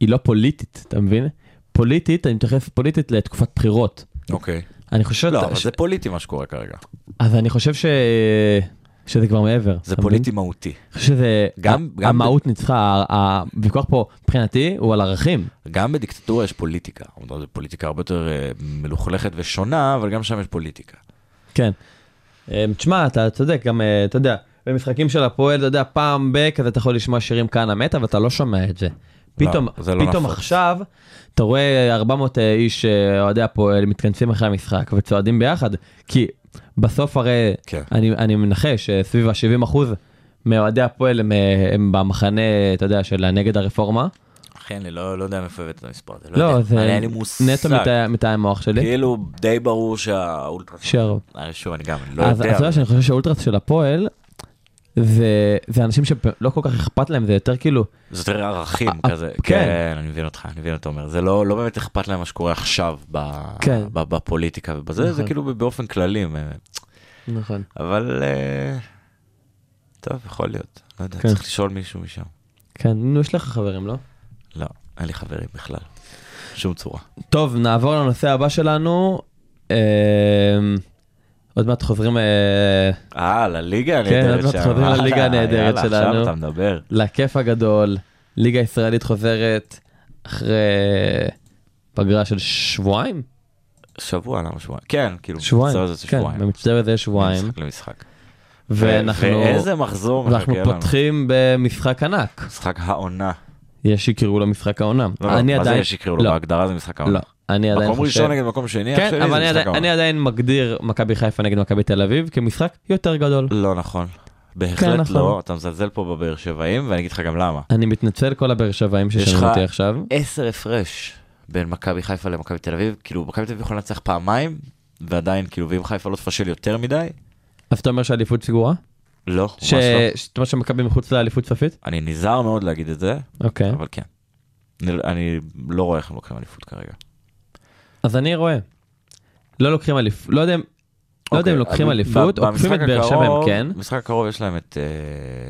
S5: היא לא פוליטית, אתה מבין? פוליטית, אני מתייחס פוליטית לתקופת בחירות.
S4: אוקיי.
S5: אני חושב...
S4: לא, אבל
S5: ש-
S4: זה פוליטי מה שקורה כרגע.
S5: אז אני חושב ש... שזה כבר מעבר.
S4: זה
S5: אתה
S4: פוליטי
S5: מבין?
S4: מהותי.
S5: אני חושב שזה...
S4: גם- גם-
S5: המהות ניצחה, ה- ה- הוויכוח פה מבחינתי הוא על ערכים.
S4: גם בדיקטטורה יש פוליטיקה. אומנם זו פוליטיקה הרבה יותר אה, מלוכלכת ושונה, אבל גם שם יש פוליטיקה.
S5: כן. אה, תשמע, אתה צודק, גם, אה, אתה יודע, במשחקים של הפועל, אתה יודע, פעם ב... כזה אתה יכול לשמוע שירים כאן המתה, ואתה לא שומע את זה. פתאום,
S4: זה לא
S5: פתאום
S4: נפוץ.
S5: עכשיו, אתה רואה 400 אה, איש אה, אוהדי הפועל מתכנסים אחרי המשחק וצועדים ביחד, כי בסוף הרי,
S4: כן.
S5: אני, אני מנחש שסביב ה-70 אחוז מאוהדי הפועל הם, אה, הם במחנה, אתה יודע, של הנגד הרפורמה.
S4: אחי, אני לא, לא יודע מאיפה הבאת את המספר הזה. לא,
S5: לא,
S4: יודע. אני-
S5: זה
S4: אין לי מושג.
S5: נטו מתאי- מתאי המוח שלי.
S4: כאילו די ברור שהאולטרס...
S5: שרוב.
S4: אה, שוב, אני גם, אני לא
S5: אז
S4: יודע.
S5: אז אתה יודע שאני חושב שהאולטרס של הפועל, זה, זה אנשים שלא כל כך אכפת להם, זה יותר כאילו,
S4: זה יותר ערכים
S5: אה,
S4: כזה.
S5: כן.
S4: כן, אני מבין אותך, אני מבין מה אתה אומר. זה לא לא באמת אכפת להם מה שקורה עכשיו ב-
S5: כן.
S4: ב- בפוליטיקה ובזה, זה
S5: נכון.
S4: כאילו באופן כללי. אה,
S5: נכון.
S4: אבל... אה, טוב, יכול להיות. לא יודע,
S5: כן.
S4: צריך לשאול מישהו משם.
S5: כן, נו, יש לך חברים, לא?
S4: לא, אין לי חברים בכלל. שום צורה.
S5: טוב, נעבור לנושא הבא שלנו. אמ, עוד מעט חוזרים אה,
S4: אה, לליגה
S5: כן,
S4: הנהדרת
S5: עוד
S4: שם.
S5: מעט חוזרים לליגה הנהדרת
S4: יאללה,
S5: שלנו.
S4: עכשיו אתה מדבר.
S5: לכיף הגדול, ליגה ישראלית חוזרת אחרי פגרה של שבועיים?
S4: שבוע, למה שבועיים? כן, כאילו,
S5: שבועיים,
S4: במצב הזה זה
S5: כן,
S4: שבועיים.
S5: במצטער זה שבועיים,
S4: ממשחק למשחק.
S5: ואנחנו
S4: ואיזה מחזור מחכה
S5: ואנחנו
S4: לנו.
S5: פותחים במשחק ענק.
S4: משחק העונה.
S5: יש שיקראו לו משחק העונה.
S4: לא,
S5: אני
S4: מה זה
S5: עדיין-
S4: יש יקראו לו?
S5: לא,
S4: בהגדרה זה משחק העונה.
S5: לא, אני עדיין
S4: מקום
S5: חושב...
S4: ראשון נגד מקום שני, אח
S5: כן,
S4: שלי, זה
S5: אבל אני
S4: משחק
S5: עדיין- אני
S4: העונה.
S5: עדיין מגדיר מכבי חיפה נגד מכבי תל אביב כמשחק יותר גדול.
S4: לא נכון. בהחלט
S5: נכון.
S4: לא, אתה מזלזל פה בבאר שבעים, ואני אגיד לך גם למה.
S5: אני מתנצל כל הבאר שבעים
S4: יש לך-
S5: ששמעו אותי עכשיו.
S4: עשר הפרש בין מכבי חיפה למכבי תל אביב, כאילו מכבי תל אביב יכולה לנצח פעמיים, ועדיין, כאילו, ואם חיפה לא תפשל יותר מדי,
S5: אז אתה אומר שהאליפות סגורה?
S4: לא, ממש
S5: ש-
S4: לא.
S5: שאתה אומר שמכבי מחוץ לאליפות סופית?
S4: אני נזהר מאוד להגיד את זה,
S5: אוקיי.
S4: אבל כן. אני- אני לא רואה איך הם לוקחים אליפות כרגע.
S5: אז אני רואה. לא לוקחים אליפות, לא יודע אם- לא יודע אם
S4: אוקיי,
S5: לוקחים
S4: ב-
S5: אליפות,
S4: ב-
S5: עוקפים את
S4: במשחק
S5: באר שבע
S4: הקרוב-
S5: אם כן.
S4: במשחק הקרוב יש להם את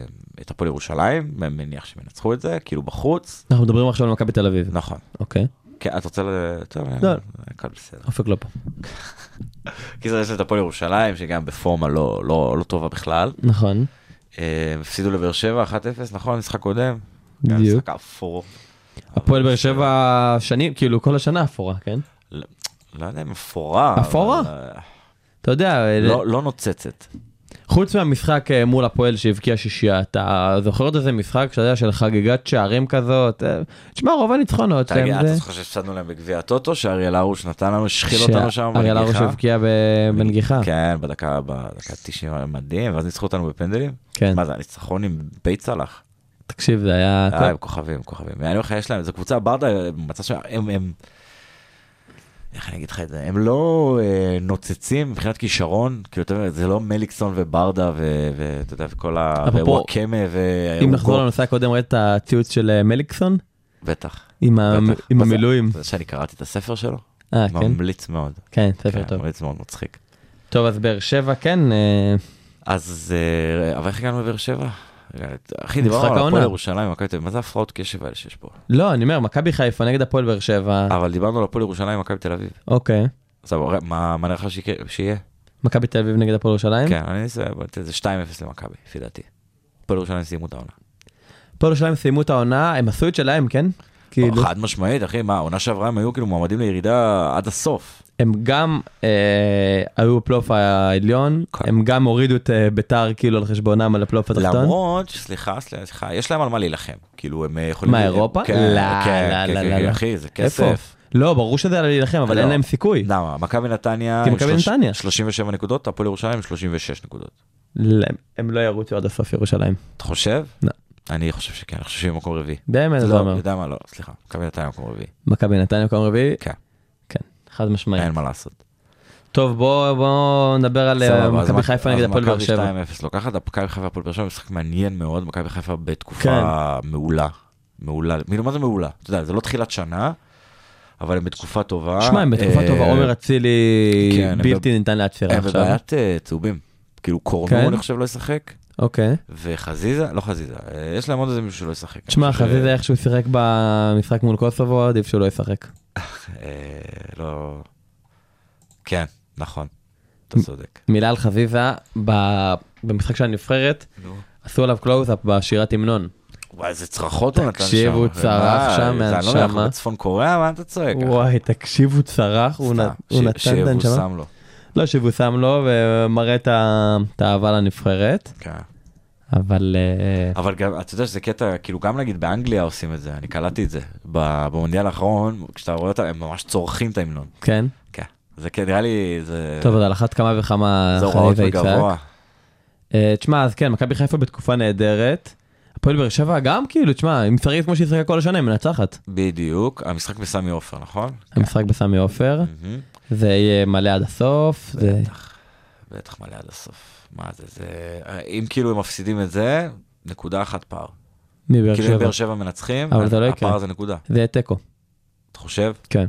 S4: אה, את הפועל ירושלים, אני מניח שהם ינצחו את זה, כאילו בחוץ.
S5: אנחנו מדברים עכשיו על מכבי תל אביב.
S4: נכון.
S5: אוקיי.
S4: כן, אתה רוצה ל... טוב, אה,
S5: לא.
S4: הכל בסדר.
S5: אופק לא פה.
S4: כי זה יש את הפועל ירושלים, שגם בפורמה לא- לא לא טובה בכלל.
S5: נכון.
S4: אה, הם הפסידו לבאר שבע 1-0, נכון? משחק קודם. גם
S5: בדיוק.
S4: משחק אפור.
S5: הפועל באר שבע שנים, כאילו כל השנה אפורה, כן?
S4: לא יודע אם אפורה. אבל,
S5: אפורה?
S4: אה,
S5: אתה יודע,
S4: לא לא נוצצת.
S5: חוץ מהמשחק אה, מול הפועל שהבקיע שישייה, אתה זוכר עוד איזה משחק שאתה יודע של חגיגת שערים כזאת? אה, תשמע, רוב הניצחונות
S4: אתה
S5: שלהם
S4: אתה
S5: זה...
S4: זוכר שהפסדנו להם בגביע הטוטו, שאריאל הרוש נתן לנו, שחיל אותנו שם.
S5: שאריאל הרוש
S4: בנגיחה?
S5: הבקיע ב- בנגיחה.
S4: כן, בדקה, בדקה 90 היה מדהים, ואז ניצחו אותנו בפנדלים.
S5: כן,
S4: מה זה, הניצחון עם בית צלח?
S5: תקשיב, זה היה...
S4: אה, הם כוכבים, כוכבים. אני אומר לך, יש להם, זו קבוצה ברדה, מצא שם, הם, הם, איך אני אגיד לך את זה, הם לא אה, נוצצים מבחינת כישרון, כאילו, אתה יודע, זה לא מליקסון וברדה, ו- ואתה יודע, וכל ה...
S5: אפרופו,
S4: ווואקמה ו...
S5: אם נחזור לנושא הקודם, ראית את הציוץ של אה, מליקסון?
S4: בטח.
S5: עם ה-
S4: בטח.
S5: אה, עם
S4: מה זה?
S5: המילואים.
S4: זה שאני קראתי את הספר שלו,
S5: אה, כן?
S4: ממליץ מאוד.
S5: כן,
S4: כן,
S5: ספר טוב.
S4: ממליץ מאוד מצחיק.
S5: טוב, אז באר שבע, כן, אה,
S4: אז אה, אבל איך הגענו לבאר שבע? רגע,
S5: משחק
S4: אחי דיברנו על הפועל
S5: העונה.
S4: ירושלים, מכבי תל אביב, מה זה הפרעות קשב האלה שיש פה?
S5: לא, אני אומר, מכבי חיפה נגד הפועל באר שבע,
S4: אבל דיברנו על הפועל ירושלים, מכבי תל אביב.
S5: אוקיי.
S4: אז אבל, מה מה נראה לך שיקרה- שיהיה?
S5: מכבי תל אביב נגד הפועל ירושלים?
S4: כן, אני אעשה, אבל זה 2-0 למכבי, לפי דעתי. הפועל ירושלים סיימו את העונה.
S5: הפועל ירושלים סיימו את העונה, הם עשו את שלהם, כן?
S4: אה,
S5: כאילו.
S4: חד משמעית, לא, אחי, מה, העונה שעברה הם היו כאילו מועמדים לירידה עד הסוף.
S5: הם גם אה, היו בפלייאוף העליון,
S4: כן.
S5: הם גם הורידו את אה, ביתר כאילו על חשבונם על הפלייאוף התחתון.
S4: למרות, סליחה, סליחה, סליחה, יש להם על מה להילחם. כאילו, הם אה, יכולים...
S5: מה, אירופה?
S4: כן,
S5: לא,
S4: כן,
S5: לא,
S4: כן,
S5: לא,
S4: כן,
S5: לא,
S4: כן,
S5: לא.
S4: אחי, זה
S5: איפה?
S4: כסף.
S5: לא, ברור שזה עלה להילחם, אבל
S4: לא.
S5: אין להם סיכוי.
S4: למה? מכבי נתניה...
S5: כי
S4: עם
S5: מכבי
S4: שלוש-
S5: נתניה.
S4: 37 נקודות, הפועל ירושלים עם 36 נקודות.
S5: לא, הם לא ירוצו עד הסוף ירושלים.
S4: אתה חושב?
S5: לא.
S4: אני חושב שכן, אני חושב שהם מקום רביעי.
S5: באמת, אתה
S4: לא,
S5: אומר.
S4: יודע מה, לא, סליחה, מכבי נתניה מקום רביעי.
S5: מכבי נתניה מקום רביעי?
S4: כן.
S5: כן, חד משמעית.
S4: אין מה לעשות.
S5: טוב, בואו בוא נדבר על אה,
S4: סבבה, אז
S5: מכבי
S4: מכ-
S5: חיפה נגד
S4: אז
S5: הפועל באר
S4: מכבי
S5: שבע.
S4: לא, 2-0 לוקחת, מכבי חיפה הפועל באר שבע משחק מעניין מאוד, מכבי חיפה בתקופה
S5: כן.
S4: מעולה. מעולה, כאילו, מה זה מעולה? אתה יודע, זה לא תחילת שנה, אבל הם בתקופה טובה.
S5: שמע, הם בתקופה
S4: אה,
S5: טובה, עומר אצילי
S4: כן, הם
S5: בלתי ניתן לעצירה
S4: הם
S5: עכשיו.
S4: בבעיית אה, צהובים. כאילו,
S5: כן.
S4: קורנו, אני חושב, לא ישחק,
S5: אוקיי.
S4: וחזיזה, לא חזיזה, אה, יש להם עוד איזה מישהו שלא ישחק. אה,
S5: תשמע,
S4: אני חושב ש-
S5: חזיזה איך שהוא שיחק במשחק מול קוסובו, עדיף שהוא לא ישחק.
S4: אה, לא... כן, נכון, אתה צודק.
S5: מילה על חזיזה, ב- במשחק של הנבחרת, עשו עליו קלוז-אפ בשירת המנון.
S4: וואי, איזה צרחות הוא נתן שם.
S5: תקשיב, הוא צרח
S4: וואי,
S5: שם
S4: זה אני לא יודע, אנחנו
S5: מהנשמה.
S4: בצפון קוריאה, מה אתה צועק?
S5: וואי, תקשיב, הוא צרח, הוא נ- הוא נתן את הנשמה.
S4: שיבושם לו.
S5: לא שיבושם לו, ומראה את ה- את האהבה לנבחרת,
S4: כן.
S5: אבל... אה,
S4: אבל גם, אתה יודע שזה קטע, כאילו גם נגיד באנגליה עושים את זה, אני קלטתי את זה. ב- במונדיאל האחרון, כשאתה רואה אותם, הם ממש צורכים את ההמנון.
S5: כן.
S4: כן. זה כן, נראה לי, זה...
S5: טוב, אז על אחת כמה וכמה
S4: זה הוראות
S5: חליבה יצעק.
S4: בגבוה.
S5: אה, תשמע, אז כן, מכבי חיפה בתקופה נהדרת. הפועל באר שבע גם כאילו, תשמע, אם צריך כמו שהיא שיחקה כל השנה, היא מנצחת.
S4: בדיוק. המשחק בסמי עופר, נכון?
S5: המשחק בסמי עופר,
S4: מהמם.
S5: זה יהיה מלא עד הסוף, זה...
S4: כן. בטח, בטח מלא עד הסוף. מה זה, זה... אם כאילו הם מפסידים את זה, נקודה אחת פער.
S5: מבאר
S4: כאילו אם
S5: שבע.
S4: באר שבע מנצחים,
S5: אבל זה לא יקרה.
S4: הפער הזה נקודה.
S5: זה יהיה תיקו,
S4: אתה חושב?
S5: כן.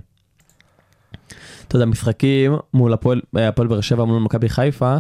S5: אתה יודע, משחקים מול הפועל אה, הפועל באר שבע מול מכבי חיפה,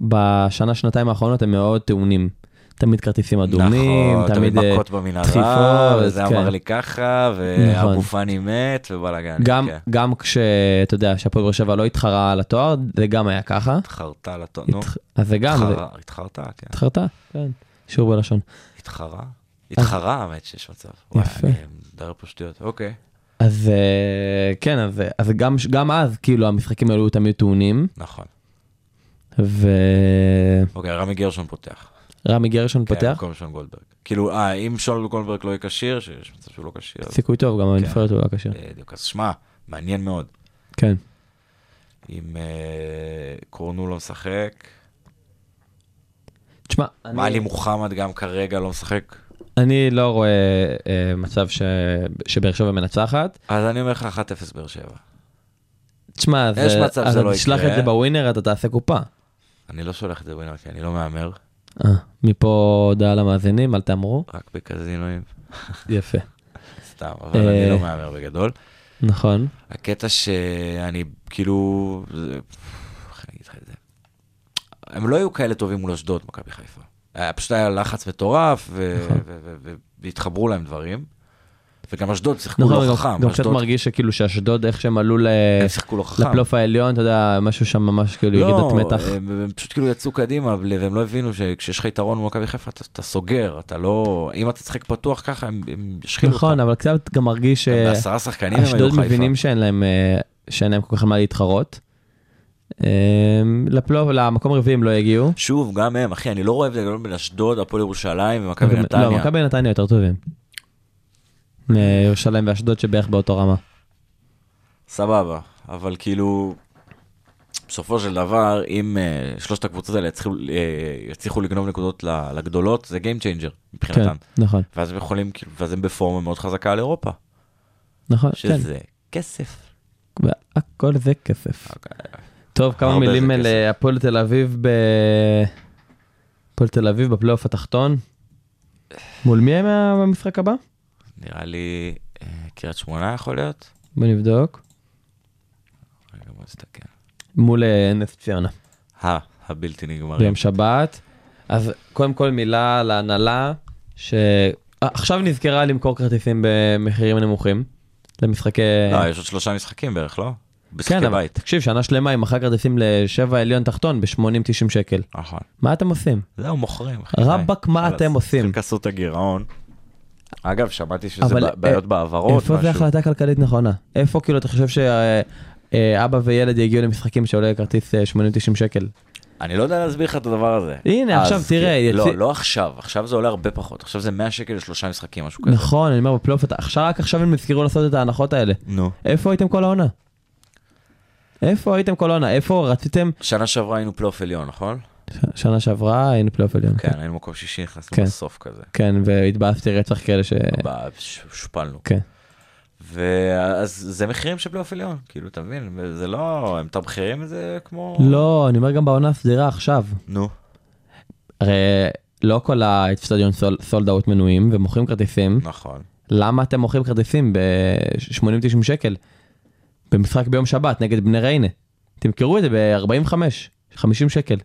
S5: בשנה, שנתיים האחרונות הם מאוד טעונים. תמיד כרטיסים אדומים,
S4: נכון,
S5: תמיד... אה,
S4: מכות במנהרה,
S5: דחיפות,
S4: וזה
S5: כן.
S4: אמר לי ככה,
S5: נכון.
S4: ואבו פאני מת, ובלאגן.
S5: גם,
S4: כן.
S5: גם כשאתה יודע שהפועל באר שבע לא התחרה על התואר, זה גם היה ככה.
S4: התחרת על הטון, נו,
S5: התח- אז זה גם, זה-
S4: התחרה, התחרת, כן.
S5: התחרתה, כן, שיעור בלשון.
S4: התחרה? התחרה, האמת שיש מצב. וואי,
S5: יפה.
S4: אני מדבר פה שטויות, אוקיי.
S5: אז אה, כן, אז, אז גם, גם אז כאילו המשחקים האלו היו תמיד טעונים,
S4: נכון.
S5: ורמי
S4: אוקיי, רמי גרשון פותח.
S5: גרשון
S4: כן,
S5: פותח,
S4: במקום שון גולדברג. כאילו, אה, אם שון גולדברג לא יהיה כשיר, שיש מצב שהוא לא כשיר. אז-
S5: סיכוי טוב, גם הנבחרת הוא לא קשה.
S4: בדיוק, אז שמע, מעניין מאוד.
S5: כן.
S4: אם אה, קורנו לא משחק,
S5: תשמע,
S4: מאלי
S5: אני,
S4: מוחמד גם כרגע לא משחק.
S5: אני לא רואה אה, מצב ש- שבאר שבע מנצחת.
S4: אז אני אומר לך 1-0 באר שבע.
S5: תשמע, אז,
S4: יש מצב
S5: אז
S4: שזה
S5: אתה
S4: לא
S5: תשלח
S4: יקרה.
S5: את זה בווינר, אתה תעשה קופה.
S4: אני לא שולח את זה בווינר, כי אני לא מהמר,
S5: אה, מפה הודעה למאזינים, אל תאמרו.
S4: רק בקזינואים,
S5: יפה.
S4: סתם, אבל אני
S5: אה.
S4: לא מהמר בגדול.
S5: נכון.
S4: הקטע שאני כאילו, זה- איך אני אגיד לך את זה? הם לא היו כאלה טובים מול אשדוד, מכבי חיפה. היה פשוט היה לחץ מטורף, ו- ו- ו- ו- והתחברו להם דברים. וגם אשדוד שיחקו
S5: נכון,
S4: לא
S5: גם-
S4: חכם.
S5: גם קצת
S4: אשדוד-
S5: מרגיש שכאילו שאשדוד, איך שהם עלו ל-
S4: הם שיחקו לא חכם.
S5: לפלייאוף העליון, אתה יודע, משהו שם ממש כאילו ירידות
S4: לא,
S5: מתח.
S4: הם, הם פשוט כאילו יצאו קדימה, בלי- והם לא הבינו שכשיש לך יתרון במכבי חיפה, אתה, אתה סוגר, אתה לא... אם אתה תשחק פתוח ככה, הם, הם ישחילו
S5: נכון,
S4: אותך.
S5: אבל קצת גם מרגיש
S4: הם בעשרה שחקנים הם היו
S5: שאשדוד
S4: חיפה.
S5: מבינים שאין להם אה, שאין להם כל כך על מה להתחרות. אה, לפלייאוף, למקום רביעי הם לא יגיעו.
S4: שוב, גם הם, אחי, אני לא רואה הבדל גדול בין אשדוד, הפועל ירושלים ומכבי
S5: אבל-
S4: נתניה.
S5: לא, מכבי נתניה יותר טובים. אה, ירושלים ואשדוד שבערך באותו רמה.
S4: סבבה, אבל כאילו... בסופו של דבר, אם אה, שלושת הקבוצות האלה יצליחו, אה, יצליחו לגנוב נקודות ל- לגדולות, זה Game Changer
S5: כן,
S4: מבחינתם.
S5: נכון,
S4: ואז הם יכולים, כאילו, ואז הם בפורמה מאוד חזקה על אירופה,
S5: כן. נכון, כן.
S4: שזה כסף.
S5: הכל זה כסף. טוב, כמה
S4: אוקיי. הרבה
S5: מילים
S4: זה
S5: על
S4: כסף.
S5: אה, הפועל תל אביב ב... הפועל תל אביב בפלייאוף התחתון. מול מי הם במשחק הבא?
S4: נראה לי אה, קריית שמונה יכול להיות.
S5: בוא נבדוק.
S4: רגע בוא נסתכל.
S5: מול אה, נס ציונה.
S4: ה, הבלתי נגמרים.
S5: ביום שבת. אז קודם כל מילה להנהלה, שעכשיו אה, נזכרה למכור כרטיסים במחירים נמוכים. למשחקי...
S4: לא, יש עוד שלושה משחקים בערך, לא?
S5: כן,
S4: משחקי
S5: אבל
S4: בית.
S5: תקשיב, שנה שלמה היא מכרה כרטיסים לשבע עליון תחתון ב-80-90 שקל.
S4: נכון.
S5: מה אתם עושים?
S4: זהו, מוכרים. אחי,
S5: רבאק,
S4: די.
S5: מה
S4: יאללה,
S5: אתם עושים?
S4: הם כסו את הגירעון. אגב, שמעתי שזה
S5: אבל,
S4: ב- בעיות
S5: אה,
S4: בהעברות,
S5: איפה זה
S4: משהו.
S5: החלטה כלכלית נכונה? איפה כאילו אתה חושב שאבא וילד יגיעו למשחקים שעולה כרטיס אה, 80-90 שקל?
S4: אני לא יודע להסביר לך את הדבר הזה.
S5: הנה, עכשיו
S4: אז
S5: תראה,
S4: כן,
S5: יצא-
S4: לא, לא עכשיו, עכשיו זה עולה הרבה פחות. עכשיו זה 100 שקל לשלושה משחקים, משהו כזה.
S5: נכון, אני אומר בפלייאוף, אתה- עכשיו רק עכשיו הם נזכרו לעשות את ההנחות האלה.
S4: נו.
S5: איפה הייתם כל העונה? איפה הייתם כל העונה? איפה רציתם?
S4: שנה שעברה היינו פלייאוף עליון, נכון?
S5: ש- שנה שעברה היינו פלייאוף עליון.
S4: כן, היינו מקום שישי, נכנסנו
S5: כן.
S4: בסוף כזה.
S5: כן, והתבאסתי רצח כאלה ש...
S4: ב- ש- הושפלנו.
S5: כן.
S4: ואז זה מחירים של פלייאוף עליון, כאילו, אתה מבין? זה לא, הם מתמחרים את זה כמו...
S5: לא, אני אומר גם בעונה הסדירה עכשיו.
S4: נו.
S5: הרי לא כל האצטדיון סולד אאוט מנויים ומוכרים כרטיסים.
S4: נכון.
S5: למה אתם מוכרים כרטיסים ב-80-90 שקל? במשחק ביום שבת נגד בני ריינה. תמכרו את זה ב-45, 50 שקל.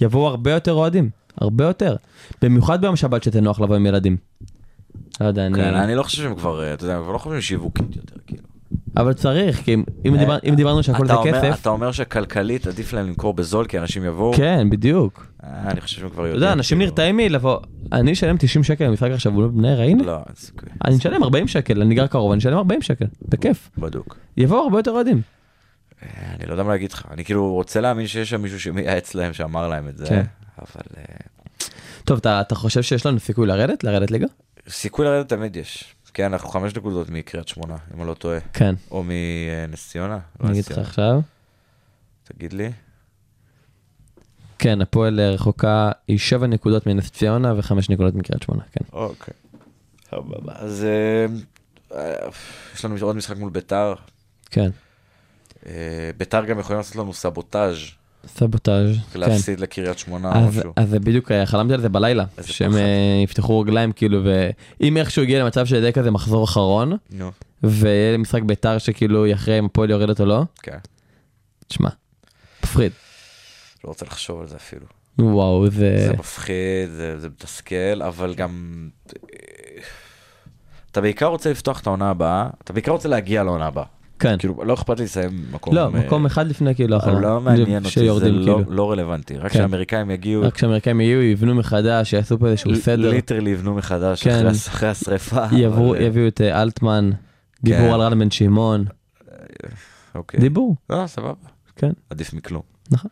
S5: יבואו הרבה יותר אוהדים, הרבה יותר. במיוחד ביום שבת שזה נוח לבוא עם ילדים. לא יודע, אני...
S4: כן, אני לא חושב שהם כבר, אה, אתה יודע, הם כבר לא חושבים שיווקית יותר, כאילו.
S5: אבל צריך, כי אם, אם, דיבר, אם דיברנו שהכל זה
S4: אה, אתה אומר-
S5: כסף...
S4: אתה אומר שכלכלית עדיף להם למכור בזול, כי אנשים יבואו?
S5: כן, בדיוק.
S4: אה, אני חושב שהם כבר
S5: אתה
S4: יודעים.
S5: יודע, אנשים
S4: כאילו.
S5: נרתעים מלבוא. אני אשלם 90 שקל במשחק עכשיו מול בני ריינה?
S4: לא, אין סיכוי.
S5: אני משלם 40 שקל, אני גר קרוב, אני משלם 40 שקל, בכיף.
S4: בדוק.
S5: יבואו הרבה יותר אוהדים.
S4: אה, אני לא יודע מה להגיד לך. אני כאילו רוצה להאמין שיש שם מישהו שמייעץ להם, שאמר להם את זה.
S5: כן.
S4: אבל אה,
S5: טוב, אתה, אתה חושב שיש לנו סיכוי לרדת? לרדת ליגה?
S4: סיכוי לרדת תמיד יש. כן, אנחנו חמש נקודות מקריית שמונה, אם אני לא טועה.
S5: כן.
S4: או מנס ציונה. לא
S5: אני
S4: נס
S5: אגיד לך
S4: ציונה.
S5: עכשיו.
S4: תגיד לי.
S5: כן, הפועל אה, רחוקה היא 7 נקודות מנס ציונה ו-5 נקודות מקריית שמונה, כן.
S4: אוקיי. סבבה. אז אה, אה, יש לנו עוד משחק מול ביתר.
S5: כן.
S4: אה, ביתר גם יכולים לעשות לנו סבוטאז'
S5: סבוטאז', כן.
S4: להפסיד לקריית שמונה או
S5: אז,
S4: משהו.
S5: אז זה בדיוק, אה, חלמתי על זה בלילה,
S4: לא. איזה
S5: שהם
S4: פחד.
S5: אה, יפתחו רגליים כאילו, ואם איכשהו יגיע למצב של ידי כזה מחזור אחרון,
S4: נו.
S5: ויהיה משחק ביתר שכאילו יכריע אם הפועל יורדת או לא,
S4: כן.
S5: תשמע, מפחיד.
S4: לא רוצה לחשוב על זה אפילו.
S5: וואו, זה...
S4: זה מפחיד, זה, זה מתסכל, אבל גם... אה, אתה בעיקר רוצה לפתוח את העונה הבאה, אתה בעיקר רוצה להגיע לעונה הבאה.
S5: כן.
S4: כאילו, לא אכפת לי לסיים מקום...
S5: לא,
S4: אה,
S5: מקום אחד לפני כאילו
S4: אבל
S5: אחרון.
S4: לא מעניין אותי, זה
S5: שיורדים
S4: לא,
S5: כאילו.
S4: לא רלוונטי. רק
S5: כן.
S4: שהאמריקאים יגיעו,
S5: רק כשהאמריקאים יהיו, יבנו מחדש, יעשו פה איזשהו סדר.
S4: ליטרלי יבנו מחדש
S5: כן.
S4: אחרי הס- אחרי השרפה.
S5: יבואו-
S4: אבל, אה,
S5: יביאו את אה, אלטמן, דיבור
S4: כן.
S5: על רן בן שמעון,
S4: אוקיי.
S5: דיבור,
S4: לא, סבבה.
S5: כן.
S4: עדיף מכלום.
S5: נכון.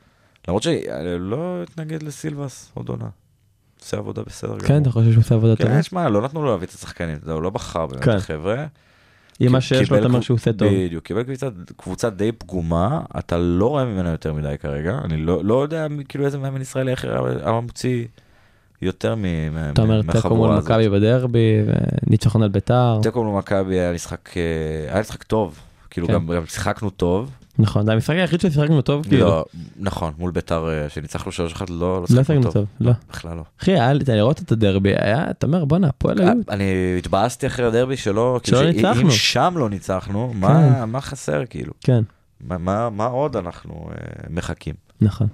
S4: למרות שלא אתנגד לסילבס עוד עונה. עושה עבודה בסדר גמור.
S5: כן, אתה חושב שהוא עושה עבודה טובה?
S4: כן, שמע, לא נתנו לו להביא את השחקנים, זה הוא לא בחר באמת,
S5: כן.
S4: חבר'ה.
S5: עם מה שיש לו,
S4: קיבל
S5: אתה אומר
S4: קבוצ-
S5: שהוא עושה טוב.
S4: בדיוק, קיבל קבוצה, קבוצה די פגומה, אתה לא רואה ממנה יותר מדי כרגע, אני לא, לא יודע מ- כאילו איזה מאמן ישראלי אחר היה מוציא יותר מ- מה-
S5: אתה אומר תיקו מול
S4: מהחבורה הזאת.
S5: מכבי בדרבי, וניצחון על ביתר,
S4: תיקו מול מכבי היה משחק, אה, היה משחק טוב, כאילו
S5: כן.
S4: גם, גם שיחקנו טוב,
S5: נכון, זה המשחק היחיד ששיחקנו טוב, כאילו,
S4: לא, נכון, מול ביתר אה, שניצחנו 3-1 לא, לא
S5: לא
S4: שיחקנו
S5: שיחקנו
S4: טוב,
S5: טוב, לא.
S4: בכלל לא.
S5: אחי, היה לי לראות את הדרבי, היה, אתה אומר בואנה,
S4: אה.
S5: הפועל לא היו,
S4: אני התבאסתי אחרי הדרבי שלא,
S5: שלא
S4: כאילו, שאם-
S5: ניצחנו.
S4: אם שם לא ניצחנו, מה, מה חסר כאילו?
S5: כן,
S4: מה, מה, מה עוד אנחנו אה, מחכים?
S5: נכון.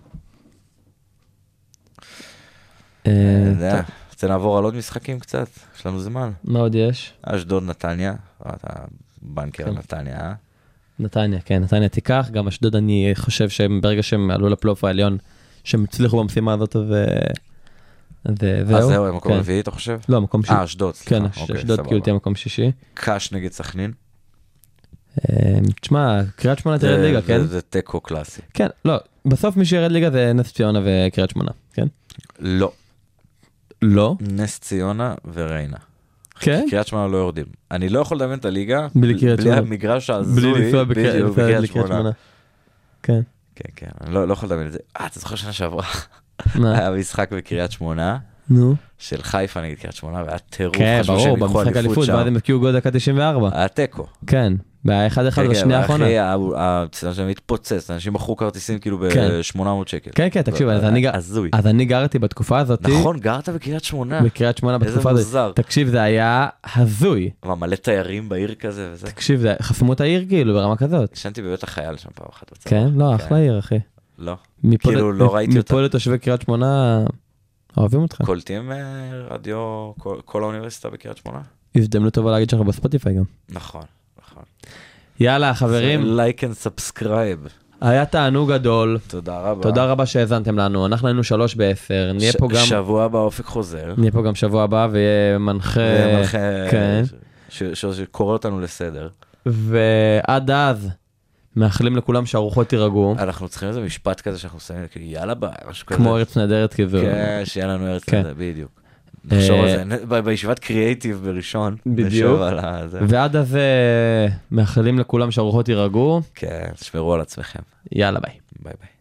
S5: אה,
S4: אני יודע.
S5: טוב,
S4: רוצה לעבור על עוד משחקים קצת? יש לנו זמן.
S5: מה עוד יש?
S4: אשדוד נתניה, אתה בנקר
S5: כן.
S4: נתניה, אה?
S5: נתניה, כן, נתניה תיקח, גם אשדוד אני חושב שהם, ברגע שהם עלו לפלייאוף העליון, שהם הצליחו במשימה הזאת, אז אז, אה, זהו.
S4: אז זהו, הם מקום
S5: כן.
S4: רביעי אתה חושב?
S5: לא, מקום שישי.
S4: אה, אשדוד,
S5: כן,
S4: סליחה.
S5: אש-
S4: אוקיי,
S5: אשדוד
S4: סבבה.
S5: כאילו תהיה מקום שישי.
S4: קאש נגד סכנין.
S5: אה, תשמע, קריית שמונה תרד
S4: זה-
S5: ליגה,
S4: אה, זה-
S5: כן?
S4: זה תיקו קלאסי.
S5: כן, לא, בסוף מי שירד ליגה זה נס ציונה וקריית שמונה, כן?
S4: לא,
S5: לא.
S4: נס ציונה וריינה.
S5: כן?
S4: קריית שמונה לא יורדים. אני לא יכול לדמיין את הליגה
S5: בלי קריית שמונה.
S4: בלי המגרש ההזוי.
S5: בלי לנסוע בקר-
S4: בדיוק,
S5: לנסוע לקריית שמונה. כן.
S4: כן, כן, אני לא לא יכול לדמיין את זה. אה, אתה זוכר שנה שעברה
S5: מה?
S4: היה משחק בקריית שמונה
S5: נו.
S4: של חיפה נגד קריית שמונה, והיה טירוף,
S5: כן,
S4: חשבו שהם
S5: ברור,
S4: ייקחו
S5: במשחק
S4: אליפות
S5: אליפות,
S4: שם.
S5: ואז הם הבקיעו גול דקה 94.
S4: היה תיקו.
S5: כן, והיה 1-1
S4: כן,
S5: בשנייה
S4: אבל
S5: האחרונה.
S4: אחי, ה- ה- הצטדיון שלהם התפוצץ, אנשים מכרו כרטיסים כאילו
S5: כן.
S4: ב-800 שקל.
S5: כן, כן, תקשיב,
S4: זה
S5: אז אני גר-
S4: הזוי.
S5: אז אני גרתי בתקופה הזאת,
S4: נכון, גרת בקריית שמונה.
S5: בקריית שמונה
S4: איזה
S5: בתקופה
S4: מוזר.
S5: הזאת. תקשיב, זה היה הזוי.
S4: מה, מלא תיירים בעיר כזה וזה?
S5: תקשיב, זה- חסמו את העיר כאילו ברמה כזאת.
S4: ישנתי בבית החייל שם פעם אחת בצבא.
S5: כן, לא, אחלה עיר, אחי.
S4: לא.
S5: מפה
S4: כאילו,
S5: ל-
S4: לא ראיתי
S5: מפה
S4: אותה.
S5: לתושבי קריית שמונה, אוהבים אותך.
S4: קולטים אה, רדיו כל- כל האוניברסיטה בקריית שמונה?
S5: הזדמנות טובה להגיד שאנחנו בספוטיפיי גם.
S4: נכון, נכון. לא-
S5: יאללה, חברים,
S4: לייק אנד סאבסקרייב.
S5: היה תענוג גדול.
S4: תודה רבה.
S5: תודה רבה שהאזנתם לנו, אנחנו היינו שלוש בעשר, נהיה
S4: ש-
S5: פה גם...
S4: שבוע הבא אופק חוזר.
S5: נהיה פה גם שבוע הבא ויהיה מנחה,
S4: זה מנחה
S5: אה, כן.
S4: ש- ש- שקורא אותנו לסדר.
S5: ועד אז מאחלים לכולם שהרוחות תירגעו,
S4: אנחנו צריכים איזה משפט כזה שאנחנו שמים, כאילו יאללה ביי, משהו אה, כזה.
S5: כמו ארץ נהדרת כזו.
S4: כן, שיהיה לנו ארץ
S5: כן.
S4: כזה, בדיוק. נחשוב
S5: אה,
S4: על זה, נ- ב- בישיבת קריאייטיב בראשון.
S5: בדיוק.
S4: נשב על ה- זה.
S5: ועד אז אה, מאחלים לכולם שהרוחות יירגעו,
S4: כן, תשמרו על עצמכם.
S5: יאללה ביי.
S4: ביי ביי.